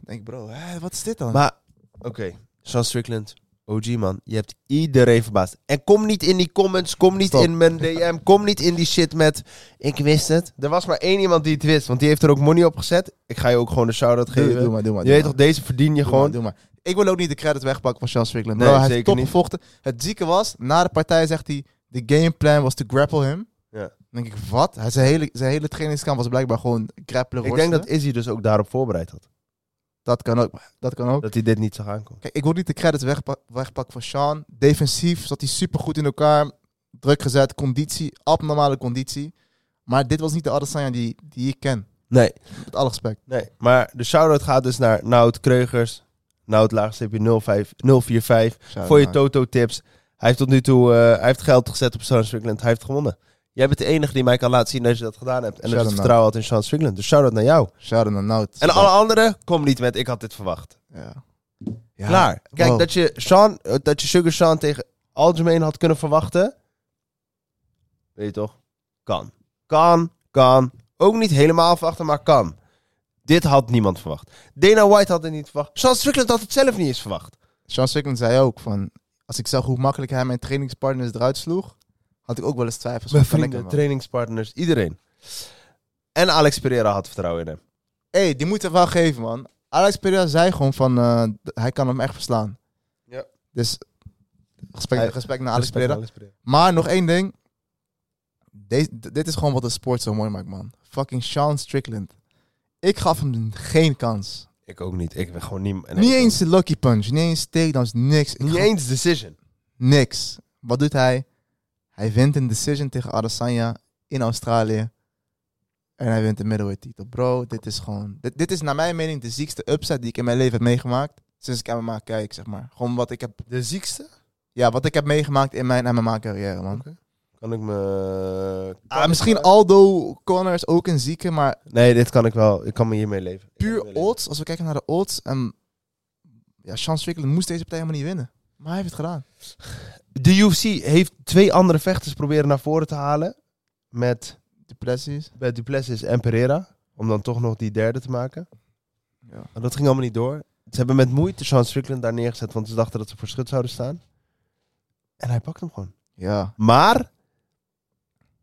C: Ik denk, bro, hè, wat is dit dan?
D: Maar, oké. Sean Strickland, OG man, je hebt iedereen verbaasd. En kom niet in die comments, kom niet
C: Stop.
D: in mijn DM, kom niet in die shit met... Ik wist het. Er was maar één iemand die het wist, want die heeft er ook money op gezet. Ik ga je ook gewoon een shout-out
C: doe,
D: geven.
C: doe maar, doe maar.
D: eh,
C: doe
D: je weet
C: maar.
D: toch, deze verdien je
C: Doe
D: gewoon.
C: maar, doe maar. Ik wil ook niet de credit wegpakken van Sean Strickland.
D: Nee,
C: Bro, hij heeft
D: zeker
C: top
D: niet.
C: gevochten. Het zieke was, na de partij zegt hij... The game plan was to grapple him.
D: Ja.
C: Dan denk ik, wat? Hij- Zijn hele, zijn hele trainingskamp was blijkbaar gewoon grappelen,
D: Ik denk
C: worstelen.
D: dat Izzy dus ook daarop voorbereid had.
C: Dat kan ook. Dat kan ook.
D: Dat hij dit niet zag aankomen.
C: Kijk, ik wil niet de credits wegpa- wegpakken van Sean. Defensief zat hij supergoed in elkaar. Druk gezet, conditie, abnormale conditie. Maar dit was niet de Adesanya die, die ik ken.
D: Nee,
C: Met alle respect.
D: nee. Maar de shout-out gaat dus naar Nout Kreugers. Nout laagstreepje 05 045. voor je Toto-tips. Hij heeft tot nu toe eh, hij heeft geld gezet op Sean Strickland. Hij heeft gewonnen. Jij bent de enige die mij kan laten zien dat je dat gedaan hebt. En dat je
C: Shout-out naar-
D: het vertrouwen had in Sean Strickland. Dus shout-out naar jou.
C: Shout out naar Nout.
D: En alle anderen, kom niet met ik had dit verwacht.
C: Ja.
D: Klaar. Kijk,
C: Wow.
D: dat, je Sean, eh, dat je Sugar Sean tegen Algemeen had kunnen verwachten. Weet je toch? Kan. Kan, kan. Ook niet helemaal verwachten, maar kan. Dit had niemand verwacht. Dana White had het niet verwacht. Sean Strickland had het zelf niet eens verwacht.
C: Sean Strickland zei ook van... Als ik zag hoe makkelijk hij mijn trainingspartners eruit sloeg... had ik ook wel eens twijfels.
D: Mijn
C: van, kan ik
D: vrienden,
C: hem wel?
D: trainingspartners, iedereen. En Alex Pereira had vertrouwen in hem.
C: hey, die moet het wel geven, man. Alex Pereira zei gewoon van... eh, d- hij kan hem echt verslaan.
D: Ja.
C: Dus respect,
D: Hij-
C: respect naar Alex Pereira.
D: Alex Pereira.
C: Maar nog één ding. Deze- d- dit is gewoon wat de sport zo mooi maakt, man. Fucking Sean Strickland. Ik gaf hem geen kans.
D: Ik ook niet. Ik ben gewoon niet... en
C: niet
D: ik-
C: eens de lucky punch, niet eens takedowns, niks. Ik
D: Niet
C: gaf
D: eens decision.
C: Niks. Wat doet hij? Hij wint een decision tegen Adesanya in Australië. En hij wint de middleweight titel. Bro, dit is gewoon... Dit, dit is naar mijn mening de ziekste upset die ik in mijn leven heb meegemaakt. Sinds ik MMA kijk, zeg maar. Gewoon wat ik heb...
D: De ziekste?
C: Ja, wat ik heb meegemaakt in mijn MMA-carrière, man.
D: Kan ik me...
C: Ah, misschien Aldo Connor is ook een zieke, maar
D: Nee, dit kan ik wel. Ik kan me hiermee leven. Ik kan
C: puur
D: hiermee leven.
C: odds, als we kijken naar de odds, en ja, Sean Strickland moest deze partij helemaal niet winnen. Maar hij heeft het gedaan.
D: De UFC heeft twee andere vechters proberen naar voren te halen. Met,
C: Depressies.
D: met Duplessis en Pereira. Om dan toch nog die derde te maken.
C: Ja.
D: Maar dat ging allemaal niet door. Ze hebben met moeite Sean Strickland daar neergezet. Want ze dachten dat ze voor schut zouden staan. En hij pakt hem gewoon.
C: Ja,
D: Maar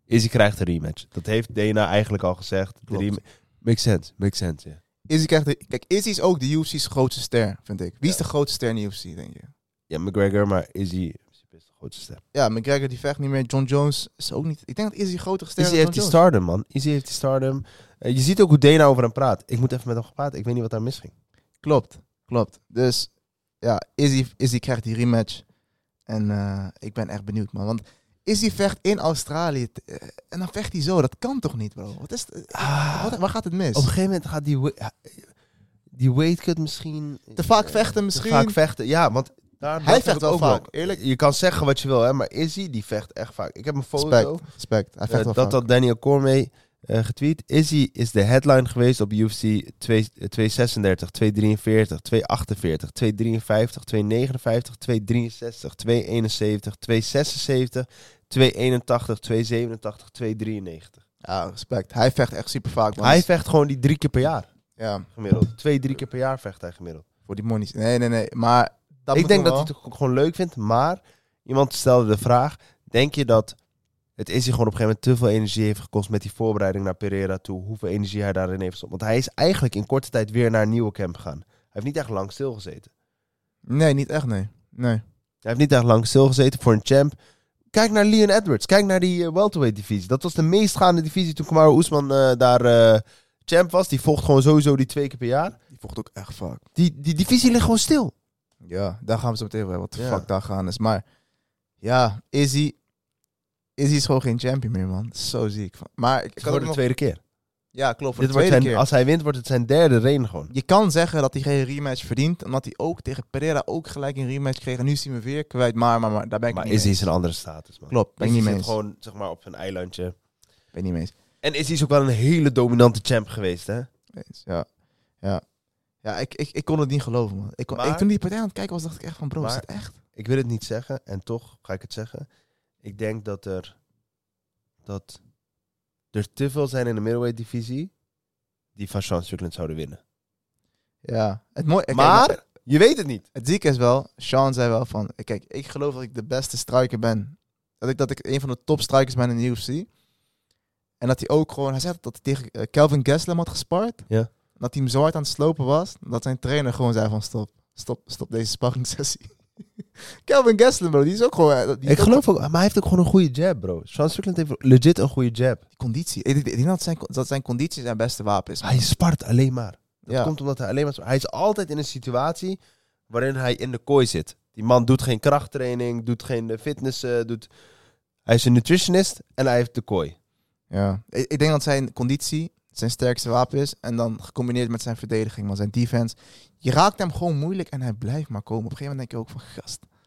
D: Izzy krijgt een rematch. Dat heeft Dana eigenlijk al gezegd. De
C: Klopt.
D: rem- Makes sense, makes sense, ja.
C: Izzy krijgt de, kijk, Izzy is ook de UFC's grootste ster, vind ik. Wie is de grootste ster in de UFC, denk je?
D: Ja, McGregor, maar Izzy is best de grootste ster.
C: Ja, McGregor die vecht niet meer. John Jones is ook niet... Ik denk dat Izzy groter ster is
D: Izzy
C: dan
D: heeft die
C: John
D: stardom, man. Izzy heeft die stardom. Eh, je ziet ook hoe Dana over hem praat. Ik moet even met hem gaan praten. Ik weet niet wat daar misging.
C: Jones. Klopt, klopt. Dus ja, Izzy, Izzy krijgt die rematch. En eh, ik ben echt benieuwd, man. Want Izzy vecht in Australië. t- eh, en dan vecht hij zo. Dat kan toch niet, bro? Wat is... Wat- waar gaat het mis?
D: Ah, Op een gegeven moment gaat die... wa- Die weightcut misschien...
C: Te vaak
D: eh,
C: vechten
D: Te
C: misschien.
D: vaak vechten, ja. Want Daar,
C: Hij
D: dat
C: vecht
D: heb ik
C: wel
D: ook wel.
C: vaak.
D: Eerlijk, je kan zeggen wat je wil, hè, maar Izzy die vecht echt vaak. Ik heb een foto.
C: Respect, respect. Hij
D: eh,
C: vecht wel
D: dat
C: vaak.
D: had Daniel Cormier eh, getweet. Izzy is de headline geweest op UFC 2, eh, 236, 243, 248, 253, 259, 263, 271, 276, 281, 287, 293.
C: Ja, respect. Hij vecht echt super vaak. man.
D: Hij vecht gewoon die drie keer per jaar
C: Ja,
D: gemiddeld. Twee, drie keer per jaar vecht hij gemiddeld.
C: voor die monies. Nee, nee, nee. Maar dat
D: ik
C: moet
D: denk dat
C: hem
D: hij
C: wel.
D: het ook gewoon leuk vindt, maar iemand stelde de vraag: denk je dat het is hij gewoon op een gegeven moment te veel energie heeft gekost met die voorbereiding naar Pereira toe, hoeveel energie hij daarin heeft gestopt? Want hij is eigenlijk in korte tijd weer naar een nieuwe camp gegaan. Hij heeft niet echt lang stilgezeten.
C: Nee, niet echt, nee. Nee.
D: Hij heeft niet echt lang stilgezeten voor een champ. Kijk naar Leon Edwards, kijk naar die eh, welterweight divisie. Dat was de meest gaande divisie toen Kamaru Oesman eh, daar eh, champ was. Die vocht gewoon sowieso die twee keer per jaar.
C: Die vocht ook echt vaak.
D: Die, die divisie ligt gewoon stil.
C: Ja, daar gaan we zo meteen over hebben. Wat de
D: Ja.
C: fuck daar gaan is. Maar ja, Izzy... Izzy is gewoon geen champion meer, man. Zo ziek. van- Maar ik, ik had
D: Voor
C: ook
D: de
C: nog...
D: tweede keer.
C: Ja, klopt. Voor
D: Dit
C: de
D: wordt
C: tweede
D: zijn,
C: keer.
D: Als hij wint, wordt het zijn derde reden gewoon.
C: Je kan zeggen dat hij geen rematch verdient. Omdat hij ook tegen Pereira ook gelijk een rematch kreeg. En nu zien we weer kwijt. Maar, maar, maar daar ben ik
D: Maar
C: niet mee
D: Izzy
C: eens.
D: is een andere status, man.
C: Klopt, ben ik
D: Izzy
C: niet mee
D: zit
C: eens.
D: gewoon, zeg maar, op zijn eilandje.
C: Ben ik niet mee eens.
D: En Izzy is dus ook wel een hele dominante champ geweest, hè?
C: Eens, Ja, ja. ja ik, ik, ik kon het niet geloven, man. Ik kon,
D: Maar-
C: ik, toen die partij aan het kijken was, dacht ik echt van, bro, is
D: Maar-
C: dit echt?
D: Ik wil het niet zeggen, en toch ga ik het zeggen. Ik denk dat er... Dat er te veel zijn in de middleweight divisie... die van Sean Strickland zouden winnen.
C: Ja. Het mooie, kijk,
D: maar, je weet het niet.
C: Het zieke is wel, Sean zei wel van, kijk, ik geloof dat ik de beste striker ben. Dat ik, dat ik een van de top strikers ben in de UFC. En dat hij ook gewoon, hij zei dat hij tegen eh, Kelvin Gaslam had gespart.
D: Ja.
C: Dat hij hem zo hard aan het slopen was, dat zijn trainer gewoon zei van stop, stop, stop deze sparringssessie. (laughs) Kelvin Gaslam bro, die is ook gewoon... eh, Die
D: Ik geloof ook, maar hij heeft ook gewoon een goede jab, bro. Sean Strickland heeft legit een goede jab.
C: Die conditie, ik ik denk dat zijn, dat zijn conditie zijn beste wapen is. man.
D: Hij spart alleen maar. Dat
C: Ja.
D: komt omdat hij alleen maar... Hij is altijd in een situatie waarin hij in de kooi zit. Die man doet geen krachttraining, doet geen eh, fitness, eh, doet... Hij is een nutritionist en hij heeft de kooi.
C: Ja. Ik, ik denk dat zijn conditie zijn sterkste wapen is. En dan gecombineerd met zijn verdediging, maar zijn defense. Je raakt hem gewoon moeilijk en hij blijft maar komen. Op een gegeven moment denk je ook van gast. wat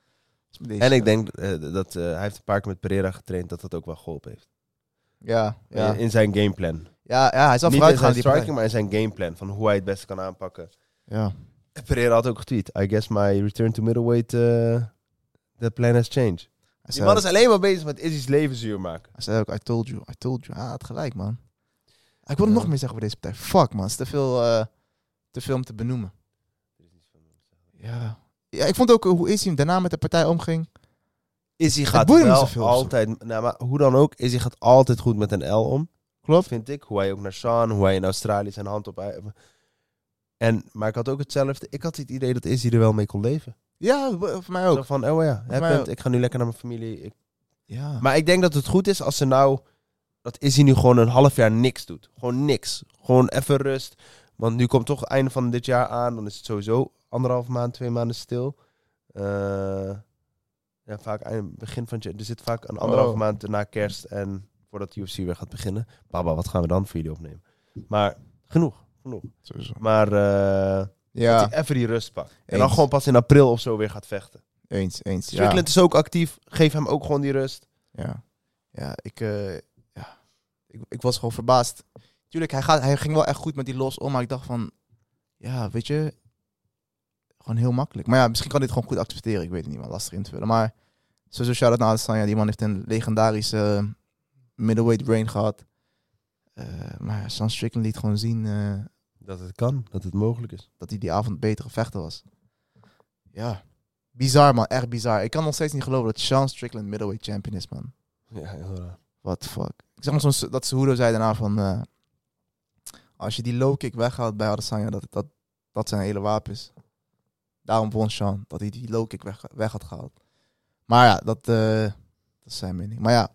C: is met deze
D: En ik
C: shit?
D: denk eh, dat eh, hij heeft een paar keer met Pereira getraind, dat dat ook wel geholpen heeft.
C: Ja, ja.
D: In, in zijn gameplan.
C: ja, ja hij zal
D: Niet
C: vooruit
D: in
C: gaan.
D: zijn
C: Die
D: striking,
C: partij.
D: maar in zijn gameplan. Van hoe hij het beste kan aanpakken.
C: ja.
D: En Pereira had ook getweet. I guess my return to middleweight, eh, the plan has changed.
C: Hij,
D: Die
C: zei,
D: man is alleen maar bezig met Izzy's leven zuur maken.
C: hij zei ook, I told you, I told you. Ah, het gelijk, man. Ik wil
D: Ja.
C: nog meer zeggen over deze partij. Fuck, man. Het is te veel, eh, te veel om te benoemen. Ja. ja. Ik vond ook eh, hoe is hij hem daarna met de partij omging.
D: Izzy gaat
C: boeit hem
D: wel
C: niet zoveel of zo.
D: altijd, nou, maar hoe dan ook, Izzy gaat altijd goed met een L om.
C: Klopt.
D: Vind ik. Hoe hij ook naar Sean, hoe hij in Australië zijn hand op... En, maar ik had ook hetzelfde. Ik had het idee dat Izzy er wel mee kon leven.
C: Ja, w- voor mij
D: Zo
C: ook.
D: van, oh ja, hè,
C: mij
D: punt,
C: ook.
D: ik ga nu lekker naar mijn familie. Ik-
C: Ja.
D: Maar ik denk dat het goed is als ze nou... Dat Izzy nu gewoon een half jaar niks doet. Gewoon niks. Gewoon even rust. Want nu komt toch het einde van dit jaar aan. Dan is het sowieso anderhalf maand, twee maanden stil. Eh, ja, vaak eind- begin van het jaar. Er zit vaak een anderhalf
C: Oh.
D: maand na kerst. En voordat de UFC weer gaat beginnen. Baba, wat gaan we dan voor jullie opnemen? Maar genoeg. genoeg.
C: Sowieso.
D: Maar eh,
C: Ja,
D: dat hij even die rust pakt. En dan
C: Eens.
D: gewoon pas in april of zo weer gaat vechten.
C: eens, eens. Ja.
D: Strickland is ook actief. Geef hem ook gewoon die rust.
C: Ja, ja, ik, eh, ja. ik, ik was gewoon verbaasd. Tuurlijk, hij, gaat, hij ging wel echt goed met die los om, maar ik dacht van, ja, weet je, gewoon heel makkelijk. Maar ja, misschien kan dit gewoon goed accepteren, ik weet het niet, maar lastig in te vullen. Maar sowieso shout-out naar Adesanya, die man heeft een legendarische eh, middleweight brain gehad. Eh, maar ja, Sean Strickland liet gewoon zien eh,
D: Dat het kan, dat het mogelijk is.
C: dat hij die avond betere vechter was. Ja, bizar man, echt bizar. Ik kan nog steeds niet geloven dat Sean Strickland middleweight champion is, man.
D: Ja, heel raar.
C: What the fuck. Ik zeg maar soms dat Cejudo zei daarna van... eh, als je die low kick weghaalt bij Adesanya, dat, dat, dat zijn hele wapens. Daarom won Sean, dat hij die low kick weg, weg had gehaald. Maar ja, dat, eh, dat is zijn mening. Maar ja,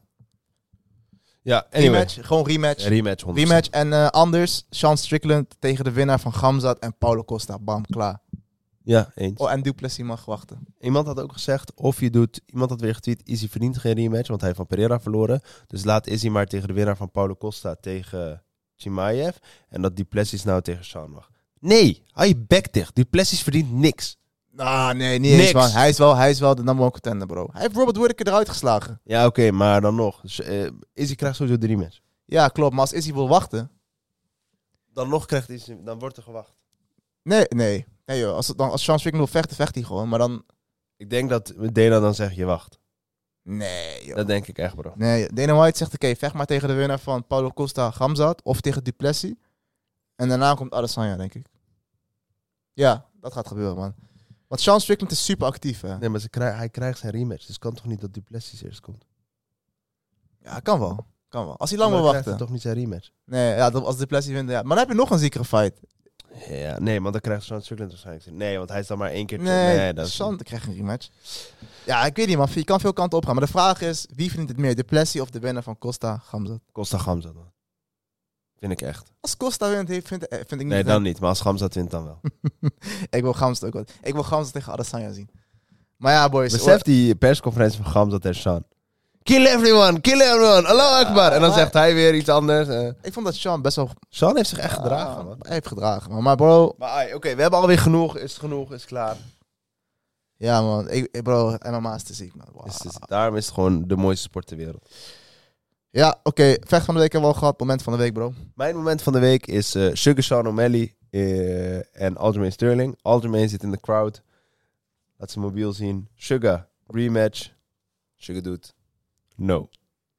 D: Ja, anyway.
C: rematch, gewoon rematch.
D: Rematch. 100%.
C: rematch en eh, anders, Sean Strickland tegen de winnaar van Gamzat en Paulo Costa. Bam, klaar.
D: Ja, eens.
C: Oh, en Duplessis mag wachten.
D: Iemand had ook gezegd, of je doet... Iemand had weer getweet, Izzy verdient geen rematch, want hij heeft van Pereira verloren. Dus laat Izzy maar tegen de winnaar van Paulo Costa tegen Chimaev. En dat Duplessis nou tegen Sean mag. Nee, hou je bek dicht. Duplessis verdient niks.
C: Nou, nee, niet eens,
D: Niks.
C: man. Hij is, wel, hij is wel de number one contender, bro. Hij heeft Robert Whittaker eruit geslagen.
D: Ja, oké, maar dan nog. Dus, eh, Izzy krijgt sowieso drie match.
C: Ja, klopt. Maar als Izzy wil wachten...
D: Dan nog krijgt Izzy, dan wordt er gewacht.
C: Nee, nee. Nee, joh. Als, het dan, als Sean Strickland wil vechten, vecht hij gewoon. Maar dan...
D: Ik denk dat Dana dan zegt, je wacht.
C: Nee, joh.
D: Dat denk ik echt, bro.
C: Nee, Dana White zegt, oké, vecht maar tegen de winnaar van Paulo Costa Gamzat of tegen Duplessis. En daarna komt Adesanya, denk ik. Ja, dat gaat gebeuren, man. Want Sean Strickland is super actief, hè.
D: Nee, maar ze krij- hij krijgt zijn rematch. Dus het kan toch niet dat Duplessis eerst komt?
C: Ja, kan wel. Kan wel. Als hij lang
D: Maar
C: wil
D: hij krijgt
C: wachten.
D: hij toch niet zijn rematch?
C: Nee, ja, dat- als Duplessis wint, ja. Maar dan heb je nog een ziekere fight.
D: Ja, nee, want dan krijgt Sean Strickland waarschijnlijk zijn- Nee, want hij is dan maar één keer...
C: Nee,
D: dat is-
C: Sean krijgt een rematch. Ja, ik weet niet, man. Je kan veel kanten op gaan. Maar de vraag is, wie verdient het meer? Duplessis of de winnaar van Costa Gamzat?
D: Costa Gamzat, man. Vind ik echt.
C: Als Costa wint, heeft- vind, eh, vind ik niet...
D: Nee,
C: dat-
D: dan niet. Maar als Gamzat wint, dan wel.
C: Ik wil Gamzat ook wel. Ik wil Gamzat tegen Adesanya zien. Maar ja, boys.
D: Besef die persconferentie van Gamzat en Sean. Kill everyone, kill everyone, Allah Akbar. En dan
C: maar-
D: zegt hij weer iets anders. eh.
C: Ik vond dat Sean best wel
D: Sean heeft zich echt gedragen, man.
C: Hij heeft gedragen, man. Maar bro,
D: Maar ai, oké, we hebben alweer genoeg. Is het genoeg? Is het klaar?
C: ja man, ik, ik- bro, MMA is te ziek, man. Wauw.
D: Is het- daarom is het gewoon de mooiste sport ter wereld.
C: Ja, oké, vecht van de week hebben we al gehad, moment van de week, bro.
D: Mijn moment van de week is eh, Sugar Sean O'Malley eh, en Alderman Sterling. Alderman zit in de crowd. Laat zijn mobiel zien. Sugar, rematch. Sugar doet. No.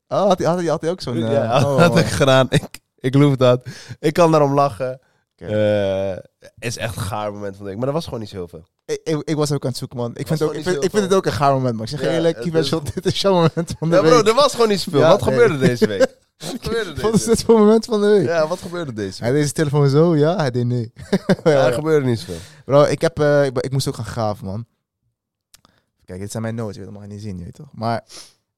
C: Oh, had hij had, hij- had hij ook zo'n... eh,
D: (laughs) ja,
C: oh,
D: had
C: man.
D: ik gedaan. Ik, ik loef dat. Ik kan daarom lachen.
C: Oké.
D: Eh, is echt een gaar moment van de week. Maar dat was gewoon niet zo heel veel.
C: ik, ik, ik was ook aan het zoeken, man. Ik vind,
D: gewoon
C: ook, ik,
D: niet
C: vind,
D: heel
C: ik vind het
D: veel.
C: ook een gaar moment, man. Ik zeg
D: Ja,
C: eerlijk,
D: het
C: Kibet,
D: is-
C: dit is jouw moment van de
D: Ja, bro,
C: week.
D: er was gewoon niet zoveel.
C: Ja,
D: Wat
C: nee.
D: gebeurde
C: (laughs)
D: deze week? Wat gebeurde
C: Wat is
D: deze week?
C: dit voor moment van de week?
D: Ja, wat gebeurde deze
C: Hij
D: week?
C: deed zijn telefoon zo, ja, hij deed nee.
D: Ja, er gebeurde niet zoveel.
C: Bro, ik, heb, eh, ik, ik moest ook gaan graven, man. Kijk, dit zijn mijn notes, je weet, dat mag je niet zien, je weet toch. Maar,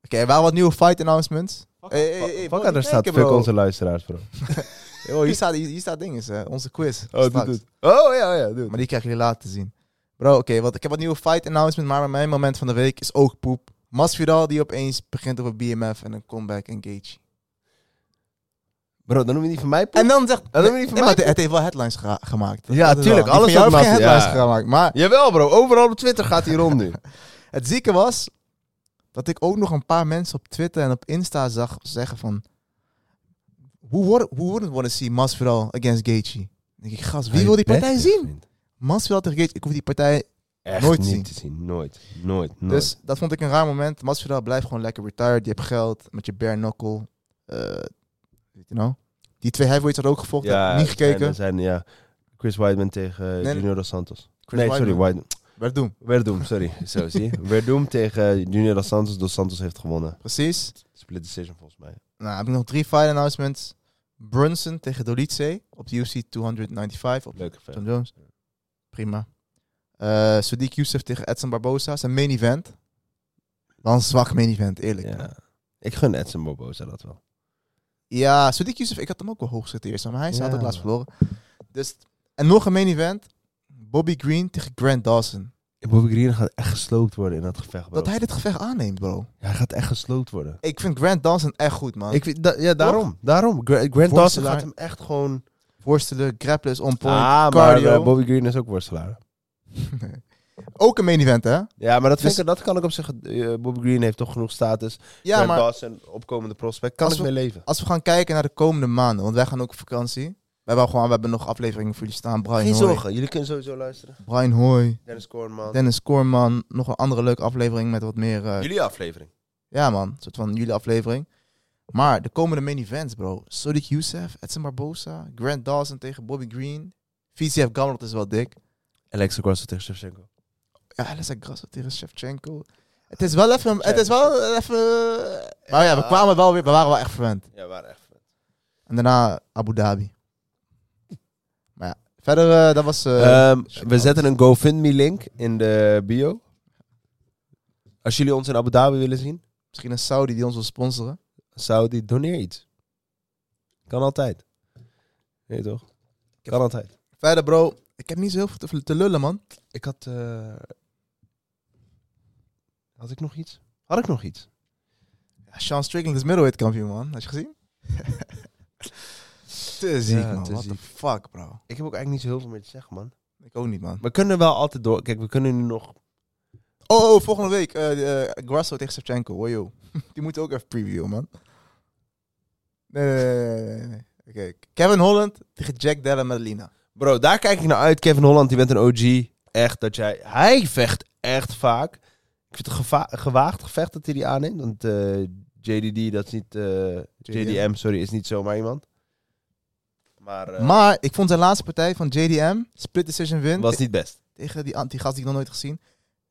C: oké, er waren wat nieuwe fight announcements. Hey, hey, hey,
D: Fuck,
C: moet
D: daar
C: je
D: staat
C: kijken,
D: fuck
C: bro.
D: onze luisteraars, bro.
C: Oh, hier staat, hier, hier staat dinges, hè, onze quiz.
D: Oh, doe
C: straks.
D: het. Oh, ja, ja, doe het.
C: Maar die krijgen jullie later te zien. Bro, oké, want ik heb wat nieuwe fight announcement, maar mijn moment van de week is ook poep. Masvidal die opeens begint over BMF en een comeback engage.
D: Bro, dan noem je niet van mij poep.
C: En dan zegt...
D: dan noem je niet van
C: Nee, maar
D: mij
C: het, het heeft wel headlines gera- gemaakt.
D: Ja,
C: Dat is
D: tuurlijk,
C: wel. Die
D: alles
C: van jou
D: wat
C: heeft geen
D: Mas-
C: headlines
D: ja.
C: gemaakt. Maar
D: Jawel, bro. Overal op Twitter gaat hij rond (laughs) nu.
C: het zieke was dat ik ook nog een paar mensen op Twitter en op Insta zag zeggen van... Who, would, who wouldn't want to see Masvidal against Gaethje? Dan denk ik, gast, wie wil die partij zien? Masvidal tegen Gaethje, ik hoef die partij
D: Echt
C: Nooit
D: nooit niet
C: zien.
D: te zien. Nooit. Nooit. Nooit.
C: Dus dat vond ik een raar moment. Masvidal blijft gewoon lekker retired. Je hebt geld met je bare knuckle. eh, weet je nou? Die twee heavyweights hadden ook gevochten.
D: ja, dus-
C: niet
D: er
C: gekeken.
D: Zijn, er zijn, ja. Chris Weidman tegen eh,
C: nee.
D: Junior Dos Santos.
C: Chris
D: nee, sorry,
C: Weidman. Verdum.
D: Weidman. Werdum, sorry. (laughs) Zo, zie je. Werdum tegen eh, Junior Dos Santos. Dos Santos heeft gewonnen.
C: Precies.
D: Split decision volgens mij.
C: Nou, heb ik nog drie fight announcements. Brunson tegen Dolice op de UFC 295 op
D: Leuke
C: John
D: vet.
C: Jones. Prima. Eh Sadiq Youssef tegen Edson Barbosa. Zijn main event. Wel een zwak main event, eerlijk.
D: Ja. Ik gun Edson Barboza dat wel.
C: Ja, Sadiq Youssef, ik had hem ook wel hoog gezet eerst, maar hij had
D: Ja,
C: ook laatst verloren.
D: man.
C: Dus, en nog een main event. Bobby Green tegen Grant Dawson.
D: Bobby Green gaat echt gesloopt worden in dat gevecht, bro.
C: Dat hij dit gevecht aanneemt, bro.
D: Hij gaat echt gesloopt worden.
C: Ik vind Grant Dawson echt goed, man. Ik
D: Ik, vind- da- ja, daarom. Daarom. Gra- Grant Dawson
C: Worstelaar.
D: gaat hem echt gewoon...
C: worstelen, grapples, on point,
D: ah,
C: cardio.
D: maar eh, Bobby Green is ook worstelaar.
C: ook een main event, hè?
D: Ja, maar dat, vind
C: Dus-
D: ik, dat kan ik op zich... eh, Bobby Green heeft toch genoeg status.
C: Ja, maar
D: Dawson, opkomende prospect, kan
C: Als
D: ik mee leven.
C: als we gaan kijken naar de komende maanden, want wij gaan ook op vakantie. We hebben, gewoon, we hebben nog afleveringen voor jullie staan. Brian
D: Geen
C: Hoy,
D: zorgen, jullie kunnen sowieso luisteren.
C: Brian Hoy,
D: Dennis Kornman.
C: Dennis Korman. Nog een andere leuke aflevering met wat meer... eh,
D: jullie aflevering.
C: Ja, man. Een soort van jullie aflevering. Maar de komende main events, bro. Sodic Youssef, Edson Barbosa, Grant Dawson tegen Bobby Green. VCF Gamrot is wel dik.
D: Alexa Grasso tegen Shevchenko.
C: Ja, Alessa Grasso tegen Shevchenko. Het is wel even... Het is wel even... Maar ja, we kwamen wel weer... We waren wel echt verwend.
D: Ja, waar echt.
C: En daarna Abu Dhabi. Maar ja, verder, eh, dat was... eh,
D: Ehm, we zetten een GoFundMe-link in de bio. Als jullie ons in Abu Dhabi willen zien,
C: misschien een Saudi die ons wil sponsoren.
D: Saudi, doneer iets. Kan altijd. Nee, toch? Kan altijd.
C: Verder, bro. Ik heb niet zo heel veel te, te lullen, man.
D: Ik had... eh, Had ik nog iets? Had ik nog iets?
C: Ja, Sean Strickland is middleweight kampioen, man. Had je gezien? te ziek,
D: Ja,
C: man.
D: te
C: What the
D: ziek.
C: fuck, bro.
D: Ik heb ook eigenlijk niet zo heel veel meer te zeggen, man.
C: Ik ook niet, man.
D: We kunnen wel altijd door. Kijk, we kunnen nu nog.
C: Oh, oh, volgende week. eh eh Grasso tegen Shevchenko. Hoor joh. (laughs) Die moeten we ook even previewen, man. Nee, nee, nee, nee, nee, nee. Oké. Kevin Holland tegen Jack Della Madelina.
D: Bro, daar kijk ik naar uit. Kevin Holland, die bent een OG. Echt dat jij. Hij vecht echt vaak. Ik vind het geva- gewaagd gevecht dat hij die aanneemt. Want eh, JDD, dat is niet. eh, JDM, sorry, is niet zomaar iemand. Maar. eh,
C: Maar ik vond zijn laatste partij van JDM, split decision win,
D: was
C: te-
D: niet best.
C: tegen die, anti gast die ik nog nooit gezien.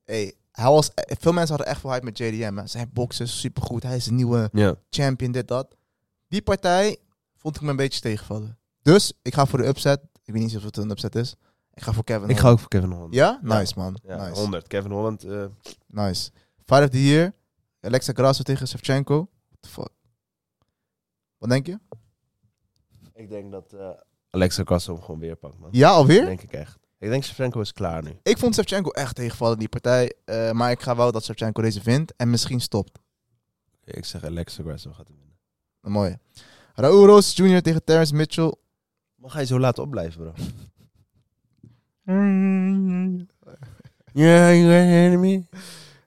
C: Hey, hij was, eh, veel mensen hadden echt veel hype met JDM. Hè. Zijn boksen is supergoed. Hij is een nieuwe
D: Ja.
C: champion, dit, dat. Die partij vond ik me een beetje tegenvallen. Dus ik ga voor de upset. Ik weet niet of het een upset is. Ik ga voor Kevin
D: Ik ga
C: Holland.
D: ook voor Kevin Holland.
C: Ja? Nice, man.
D: Ja,
C: nice.
D: 100. Kevin Holland. eh,
C: Nice. Fight of the year. Alexa Grasso tegen Shevchenko. What the fuck? Wat denk je?
D: ik denk dat eh, Alexa Kassel hem gewoon weer pakt, man.
C: Ja, alweer?
D: Denk ik echt. Ik denk Shevchenko is klaar nu.
C: Ik vond Shevchenko echt tegenvallen in die partij. eh, maar ik ga wel dat Shevchenko deze wint en misschien stopt.
D: Ik zeg Alexa Kassel gaat hem winnen.
C: Een mooie. Raul Roos Jr. tegen Terrence Mitchell.
D: Mag hij zo laat opblijven, bro? Ja, enemy.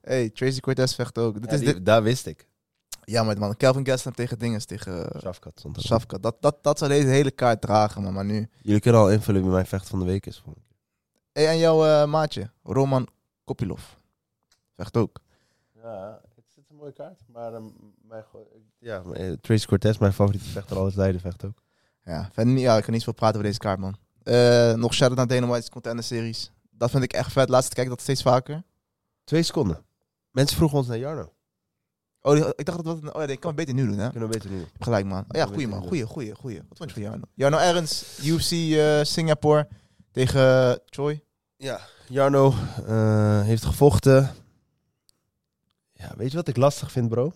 C: Hey, Tracy Cortez vecht ook. Dit
D: Ja,
C: is
D: die-
C: dit.
D: Daar wist ik.
C: Ja, maar man. Kelvin Gastelum tegen Dinges, tegen eh,
D: Shafkat stond er.
C: Safka. Dat, dat, dat zou deze hele kaart dragen, man. Maar nu...
D: Jullie kunnen al invullen wie mijn vecht van de week is. volgende keer.
C: Hey, en jouw eh, maatje, Roman Kopilov. Vecht ook.
D: Ja, het is een mooie kaart. Maar ehm, mijn go- ik- ja, maar, eh, Tracy Cortez, mijn favoriete vechter, alles Leiden vecht ook.
C: Ja, verder niet, ja, ik kan niet veel praten over deze kaart, man. Eh, nog shout-out naar Dana White's contender-series. Dat vind ik echt vet. Laatst kijk ik dat steeds vaker.
D: Twee seconden. Mensen vroegen ons naar Jarno.
C: Oh, die- ik dacht dat we... Oh ja, ik kan het beter nu doen, hè?
D: Kunnen we beter nu.
C: Gelijk, man. Oh, ja, goeie, man. Goeie, goeie, goeie. Wat vond je van Jarno? Jarno Erens, UFC eh, Singapore tegen eh, Choi.
D: Ja, Jarno eh, heeft gevochten. Ja, weet je wat ik lastig vind, bro?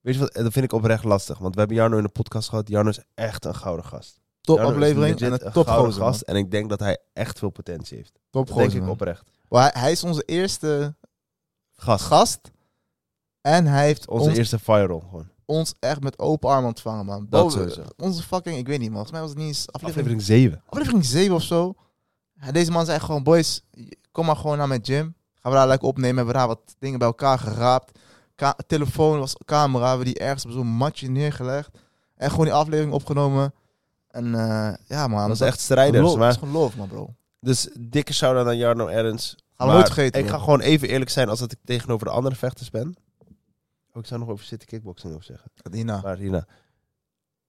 D: Weet je wat? eh, Dat vind ik oprecht lastig. Want we hebben Jarno in de podcast gehad. Jarno is echt een gouden gast.
C: Top
D: Jarno is
C: aflevering en
D: legit een
C: een
D: gouden
C: topgozer,
D: gast.
C: gast.
D: En ik denk dat hij echt veel potentie heeft. Dat denk
C: Topgozer,
D: ik
C: man.
D: oprecht.
C: Maar hij, hij is onze eerste
D: Gast.
C: gast. En hij heeft
D: Onze
C: ons,
D: eerste viral gewoon.
C: ons echt met open armen ontvangen, man.
D: Dat
C: Bo-
D: sowieso.
C: Onze fucking... Ik weet niet, man. Volgens mij was het niet eens aflevering
D: Aflevering 7.
C: aflevering 7 of zo. Ja, Deze man zei gewoon, boys, kom maar gewoon naar mijn gym. Gaan we daar lekker opnemen. Hebben we daar wat dingen bij elkaar geraapt. Ka- telefoon was camera. Hebben we die ergens op zo'n matje neergelegd. En gewoon die aflevering opgenomen. En eh, ja man,
D: Dat is echt strijders.
C: love, dat is
D: maar,
C: gewoon love man bro.
D: dus dikke shout-out aan Jarno Erens.
C: Gaan we
D: Maar
C: nooit vergeten.
D: Ik ga
C: man.
D: gewoon even eerlijk zijn als dat ik tegenover de andere vechters ben. Oh, ik zou nog over zitten kickboxing op zeggen.
C: Hierna.
D: Maar hierna.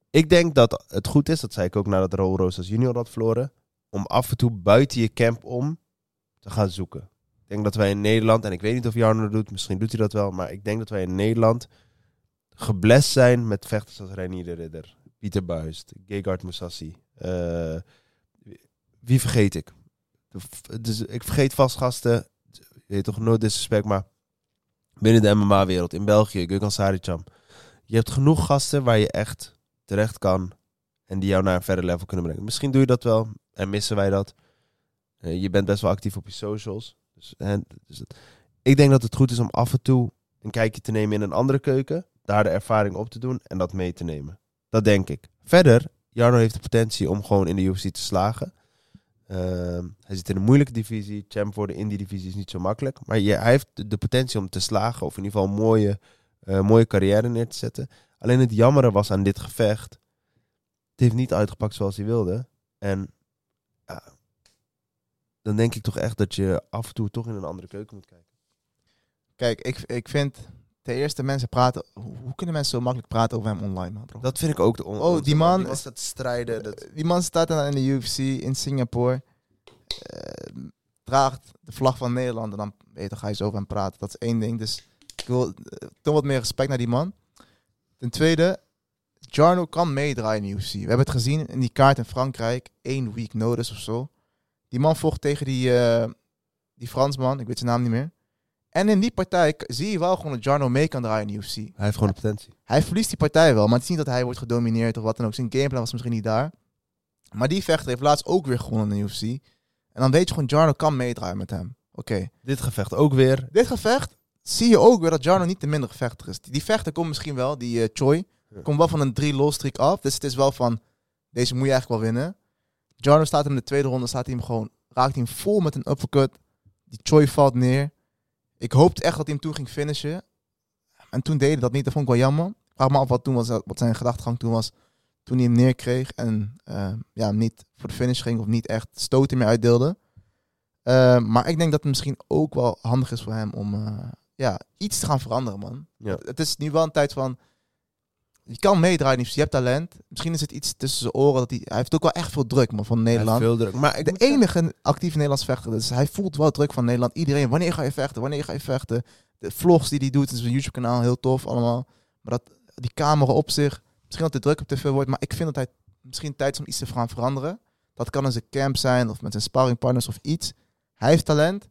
D: Ik denk dat het goed is, dat zei ik ook nadat Raul Rosas junior had verloren, om af en toe buiten je camp om te gaan zoeken. Ik denk dat wij in Nederland, en ik weet niet of Jarno dat doet, misschien doet hij dat wel, maar ik denk dat wij in Nederland geblest zijn met vechters als Reinier de Ridder, Pieter Buist, Gegard Moussassi. Eh, wie vergeet ik? De v- Dus ik vergeet vast gasten, je weet toch, no disrespect, maar binnen de MMA-wereld, in België, Gökhan Saricam. Je hebt genoeg gasten waar je echt terecht kan en die jou naar een verder level kunnen brengen. Misschien doe je dat wel en missen wij dat. Eh, je bent best wel actief op je socials. Dus, hè, dus dat- ik denk dat het goed is om af en toe een kijkje te nemen in een andere keuken, daar de ervaring op te doen en dat mee te nemen. Dat denk ik. Verder, Jarno heeft de potentie om gewoon in de UFC te slagen. Ehm, hij zit in een moeilijke divisie. Champ worden in die divisie is niet zo makkelijk. Maar je, hij heeft de de potentie om te slagen. Of in ieder geval een mooie, eh, mooie carrière neer te zetten. Alleen het jammere was aan dit gevecht. Het heeft niet uitgepakt zoals hij wilde. En ja, dan denk ik toch echt dat je af en toe toch in een andere keuken moet kijken.
C: Kijk, ik, ik vind ten eerste mensen praten... Hoe, hoe kunnen mensen zo makkelijk praten over hem online man bro?
D: Dat vind ik ook de on-
C: Oh,
D: on-
C: die man- Eh,
D: was dat strijden. Dat...
C: Die man staat dan in de UFC in Singapore. eh, draagt de vlag van Nederland. En dan, weet je, dan ga je zo over hem praten. Dat is één ding. Dus ik wil eh, toch wat meer respect naar die man. Ten tweede, Jarno kan meedraaien in de UFC. We hebben het gezien in die kaart in Frankrijk. één week notice of zo. Die man vocht tegen die, eh, die Fransman. Ik weet zijn naam niet meer. En in die partij k- zie je wel gewoon dat Jarno mee kan draaien in de UFC.
D: Hij heeft gewoon de potentie.
C: Hij verliest die partij wel, maar het is niet dat hij wordt gedomineerd of wat dan ook. Zijn gameplan was misschien niet daar. Maar die vechter heeft laatst ook weer gewonnen in de UFC. En dan weet je gewoon, Jarno kan meedraaien met hem. Oké.
D: Dit gevecht ook weer.
C: Dit gevecht zie je ook weer dat Jarno niet de mindere vechter is. Die, die vechter komt misschien wel, die eh, Choi,
D: Ja.
C: komt wel van een 3 low streak af. Dus het is wel van, deze moet je eigenlijk wel winnen. Jarno staat hem in de tweede ronde, staat hij hem gewoon, raakt hij hem vol met een uppercut. Die Choi valt neer. Ik hoopte echt dat hij hem toen ging finishen. En toen deed hij dat niet, dat vond ik wel jammer. Ik vraag me af wat, toen was, wat zijn gedachtegang toen was. Toen hij hem neerkreeg en eh, ja, hem niet voor de finish ging of niet echt stoten meer uitdeelde. Eh, maar ik denk dat het misschien ook wel handig is voor hem om eh, ja, iets te gaan veranderen, man.
D: Ja.
C: Het is nu wel een tijd van... Je kan meedraaien, je hebt talent. Misschien is het iets tussen zijn oren. Dat hij, hij heeft ook wel echt veel druk man, van Nederland.
D: Veel druk. Maar ik
C: De
D: moet
C: enige actieve Nederlands vechter. Dus hij voelt wel druk van Nederland. Iedereen, wanneer ga je vechten? Wanneer ga je vechten? De vlogs die hij doet in zijn YouTube-kanaal, heel tof allemaal. Maar dat, die camera op zich, misschien dat de druk op tv wordt. Maar ik vind dat hij misschien tijd is om iets te gaan veranderen. Dat kan in zijn camp zijn of met zijn sparringpartners of iets. Hij heeft talent,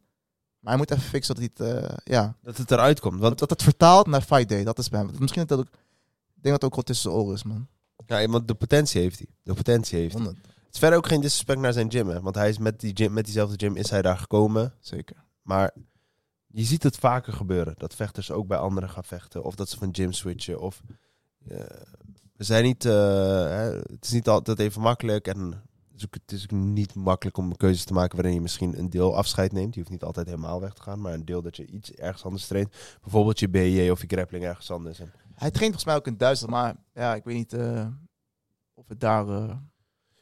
C: maar hij moet even fixen dat hij het, eh, ja,
D: dat het eruit komt. Want
C: dat het vertaalt naar fight day. Dat is bij hem. Misschien dat dat ook, ik denk dat het ook wel tussen zijn oren is, man.
D: ja, iemand de potentie heeft hij. De potentie heeft hij.
C: 100,
D: Het is verder ook geen disrespect naar zijn gym, hè. Want hij is met, die gym, met diezelfde gym is hij daar gekomen.
C: zeker.
D: Maar je ziet het vaker gebeuren. Dat vechters ook bij anderen gaan vechten. Of dat ze van gym switchen. Of eh, we zijn niet. eh, hè, het is niet altijd even makkelijk. En het is, ook, het is ook niet makkelijk om keuzes te maken waarin je misschien een deel afscheid neemt. Je hoeft niet altijd helemaal weg te gaan. Maar een deel dat je iets ergens anders traint. Bijvoorbeeld je BJ of je grappling ergens anders. En
C: Hij traint volgens mij ook in Duitsland, maar ja, ik weet niet eh, of het daar... eh,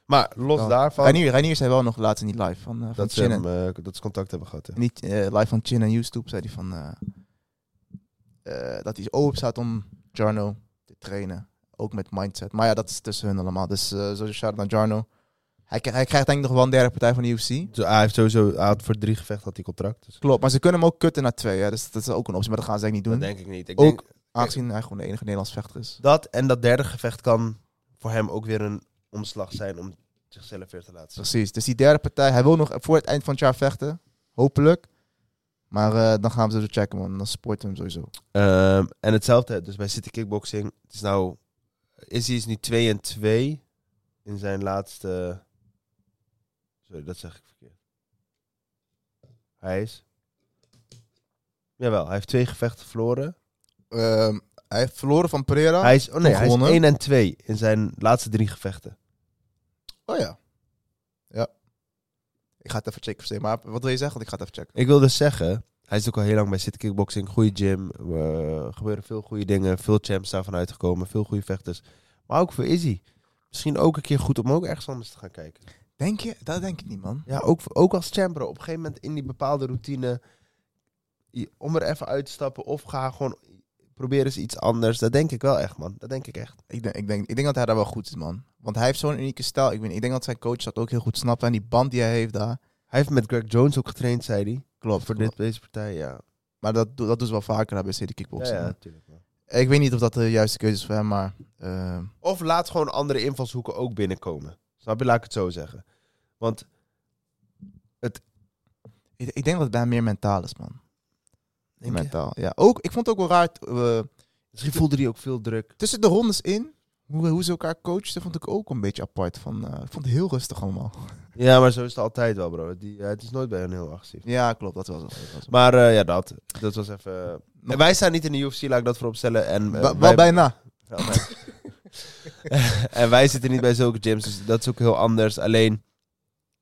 D: Maar los
C: Ja.
D: daarvan.
C: Reinier, Reinier zei wel nog laatst in die live van, eh, van
D: dat, ze
C: Chin.
D: hem,
C: en-
D: eh, dat ze contact hebben gehad. hè.
C: in die, eh, live van Chin en YouTube zei hij van... eh, eh, dat hij open staat om Jarno te trainen. Ook met mindset. Maar ja, dat is tussen hun allemaal. Dus eh sowieso shout naar Jarno. Hij, kri- hij krijgt denk ik nog wel een derde partij van de UFC.
D: Zo, Hij heeft sowieso. Hij had voor drie gevechten had hij contract. Dus
C: Klopt, maar ze kunnen hem ook kutten naar twee. Hè? Dus dat is ook een optie, maar dat gaan ze eigenlijk
D: dat
C: niet doen.
D: denk ik niet. Ik
C: Ook-
D: denk,
C: Aangezien hij gewoon de enige Nederlands vechter is.
D: Dat en dat derde gevecht kan voor hem ook weer een omslag zijn om zichzelf weer te laten zien.
C: Precies, dus die derde partij. Hij wil nog voor het eind van het jaar vechten. Hopelijk. Maar eh, dan gaan we ze checken, man. Dan supporten we hem sowieso.
D: Ehm, en hetzelfde, dus bij City Kickboxing. Het is nou, Izzy is nu 2 en 2 in zijn laatste. Sorry, dat zeg ik verkeerd. Hij is. Jawel, hij heeft twee gevechten verloren.
C: Ehm, hij heeft verloren van Pereira.
D: Hij is, oh nee,
C: Toen
D: hij is
C: gewonnen.
D: 1 en 2 in zijn laatste drie gevechten.
C: Oh ja. Ja. Ik ga het even checken. per se, Maar wat wil je zeggen? Want ik ga het even checken.
D: Ik wil dus zeggen, hij is ook al heel lang bij City Kickboxing. Goede gym. eh, Er gebeuren veel goede dingen. Veel champs daarvan uitgekomen. Veel goede vechters. Maar ook voor Izzy. Misschien ook een keer goed om ook ergens anders te gaan kijken.
C: Denk je? Dat denk ik niet, man.
D: Ja, ook, ook als champ, bro. Op een gegeven moment in die bepaalde routine. je- Om er even uit te stappen. Of ga gewoon proberen eens iets anders. Dat denk ik wel echt, man. Dat denk ik echt.
C: Ik denk, ik, denk, ik denk dat hij daar wel goed is, man. Want hij heeft zo'n unieke stijl. Ik, weet, niet, ik denk dat zijn coach dat ook heel goed snapt. En die band die hij heeft daar.
D: Hij heeft met Greg Jones ook getraind, zei hij.
C: Klopt.
D: Voor dit, deze partij, ja.
C: Maar dat, do- dat doen ze wel vaker daar bij City
D: Ja,
C: Kickboxing.
D: ja, natuurlijk. man.
C: Ik weet niet of dat de juiste keuze is voor hem, maar... ehm,
D: Of laat gewoon andere invalshoeken ook binnenkomen. Snap je? Laat ik het zo zeggen. Want
C: Ik, ik denk dat het bij hem meer mentaal is, man.
D: Denk je?
C: mentaal, ja. Ook, ik vond het ook wel raar, t- eh,
D: Misschien Dus voelde hij ook veel druk.
C: tussen de rondes in, hoe, hoe ze elkaar coachten, vond ik ook een beetje apart. Van, eh, ik vond het heel rustig allemaal.
D: Ja, maar zo is het altijd wel, bro. Die, eh, het is nooit bij hen heel agressief.
C: Ja, klopt, dat was het. Dat was het.
D: Maar eh, ja, dat. Dat was even... eh,
C: Nog-
D: Wij staan niet in de UFC, laat ik dat voorop stellen. En, eh,
C: Wa- wel
D: wij- (laughs)
C: bijna.
D: Wel bij- en wij zitten niet bij zulke gyms, dus dat is ook heel anders. Alleen,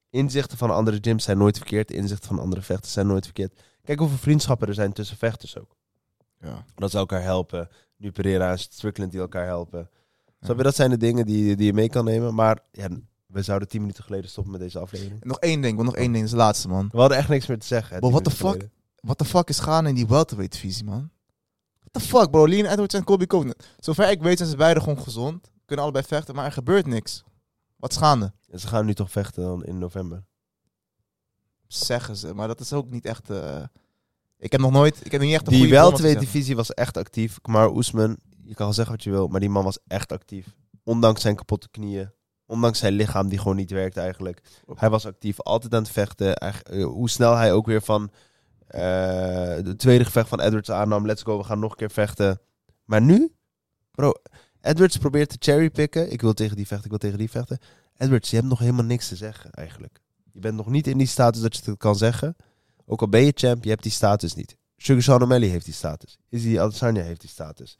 D: inzichten van andere gyms zijn nooit verkeerd. Inzichten van andere vechters zijn nooit verkeerd. Kijk hoeveel vriendschappen er zijn tussen vechters ook.
C: Ja.
D: Dat ze elkaar helpen. Nu Pereira en Strickland die elkaar helpen. Snap
C: Ja.
D: je, dat zijn de dingen die, die je mee kan nemen. Maar ja, we zouden tien minuten geleden stoppen met deze aflevering.
C: Nog één ding, want nog één ding is de laatste, man.
D: We hadden echt niks meer te zeggen. hè,
C: Bro,
D: tien
C: what the
D: minuten
C: fuck? What the fuck is gaan in die welterweight-divisie, man? What the fuck, bro? Leon Edwards en Colby Covington. Zover ik weet zijn ze beiden gewoon gezond. Kunnen allebei vechten, maar er gebeurt niks. Wat schaande.
D: geleden. En ze gaan nu toch vechten dan in november.
C: Zeggen ze, maar dat is ook niet echt... eh, ik heb nog nooit... Ik heb nog niet echt een
D: Die
C: goede
D: wel
C: voorbeeld
D: twee
C: gezien.
D: divisie was echt actief. Maar Oesman, je kan wel zeggen wat je wil, maar die man was echt actief. Ondanks zijn kapotte knieën. Ondanks zijn lichaam die gewoon niet werkt eigenlijk. Hij was actief, altijd aan het vechten. Hij- eh, hoe snel hij ook weer van het de tweede gevecht van Edwards aannam. Let's go, we gaan nog een keer vechten. Maar nu? Bro, Edwards probeert te cherrypicken. Ik wil tegen die vechten, ik wil tegen die vechten. Edwards, je hebt nog helemaal niks te zeggen eigenlijk. Je bent nog niet in die status dat je het kan zeggen. Ook al ben je champ, je hebt die status niet. Sugar Sean O'Malley heeft die status. Izzy Adesanya heeft die status.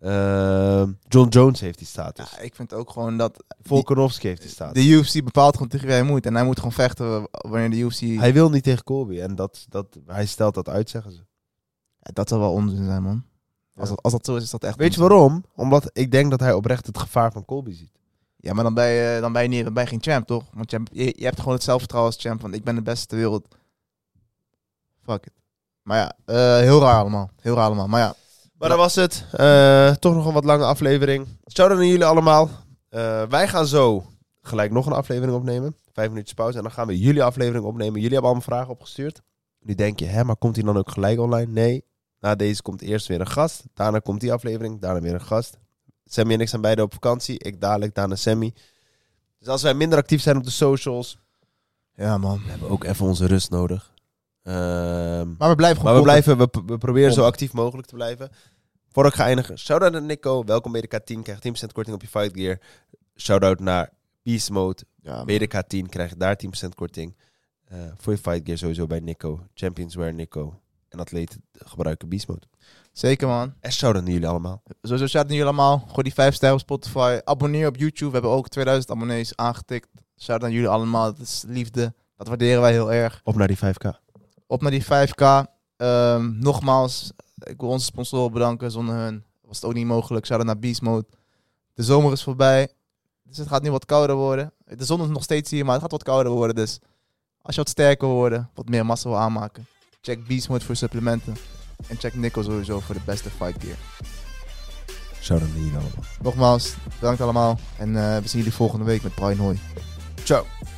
D: Ehm, John Jones heeft die status.
C: Ja, ik vind ook gewoon dat
D: Volkanovski heeft die status.
C: de UFC bepaalt gewoon tegen wie hij moet. En hij moet gewoon vechten wanneer de UFC...
D: Hij wil niet tegen Colby. En dat, dat, hij stelt dat uit, zeggen ze.
C: Ja, dat zou wel onzin zijn, man. Als,
D: Ja.
C: dat, als dat zo is, is dat echt
D: Weet je
C: onzin.
D: waarom? Omdat ik denk dat hij oprecht het gevaar van Colby ziet.
C: Ja, maar dan ben je, dan ben je, niet, dan ben je geen champ, toch? Want champ, je, je hebt gewoon het zelfvertrouwen als champ van ik ben de beste ter wereld. Fuck it. Maar ja, eh, heel raar allemaal. Heel raar allemaal. Maar ja,
D: Maar dat was het. Eh, toch nog een wat lange aflevering. Shout-out aan jullie allemaal. Eh, wij gaan zo gelijk nog een aflevering opnemen. Vijf minuutjes pauze. En dan gaan we jullie aflevering opnemen. Jullie hebben allemaal vragen opgestuurd. Nu denk je, hè, maar komt die dan ook gelijk online? Nee. Na deze komt eerst weer een gast. Daarna komt die aflevering. Daarna weer een gast. Sammy en ik zijn beide op vakantie. Ik dadelijk, daarna Sammy. Dus als wij minder actief zijn op de socials...
C: ja man.
D: We hebben ook even onze rust nodig. Ehm
C: Maar we blijven
D: maar
C: gewoon
D: we,
C: content-
D: blijven, we, we proberen zo
C: Pompen.
D: actief mogelijk te blijven. Voor ik ga eindigen, shout-out naar Nico. Welkom bij de K10. Krijg 10% korting op je Fight Gear. Shout-out naar Peace Mode.
C: Ja, man.
D: Bij de K10 krijg je daar 10% korting. Eh, voor je Fight Gear sowieso bij Nico. Champions Wear Nico. En atleten gebruiken Beast Mode.
C: Zeker man.
D: En shout-out naar jullie allemaal.
C: Sowieso shout out jullie allemaal. Gooi die 5 sterren op Spotify. Abonneer op YouTube. We hebben ook 2000 abonnees aangetikt. Shout aan jullie allemaal. Dat is liefde. Dat waarderen wij heel erg.
D: Op naar die 5K.
C: Op naar die 5K. Ehm, nogmaals, ik wil onze sponsoren bedanken. Zonder hun was het ook niet mogelijk. Shout out naar Beast Mode. De zomer is voorbij. Dus het gaat nu wat kouder worden. De zon is nog steeds hier, maar het gaat wat kouder worden. Dus als je wat sterker wil worden, wat meer massa wil aanmaken. Check Beast Mode voor supplementen. En check Nico sowieso voor de beste fight gear.
D: Shout-out naar jullie allemaal.
C: Nogmaals, bedankt allemaal. En eh, we zien jullie volgende week met Brian Hoy.
D: Ciao.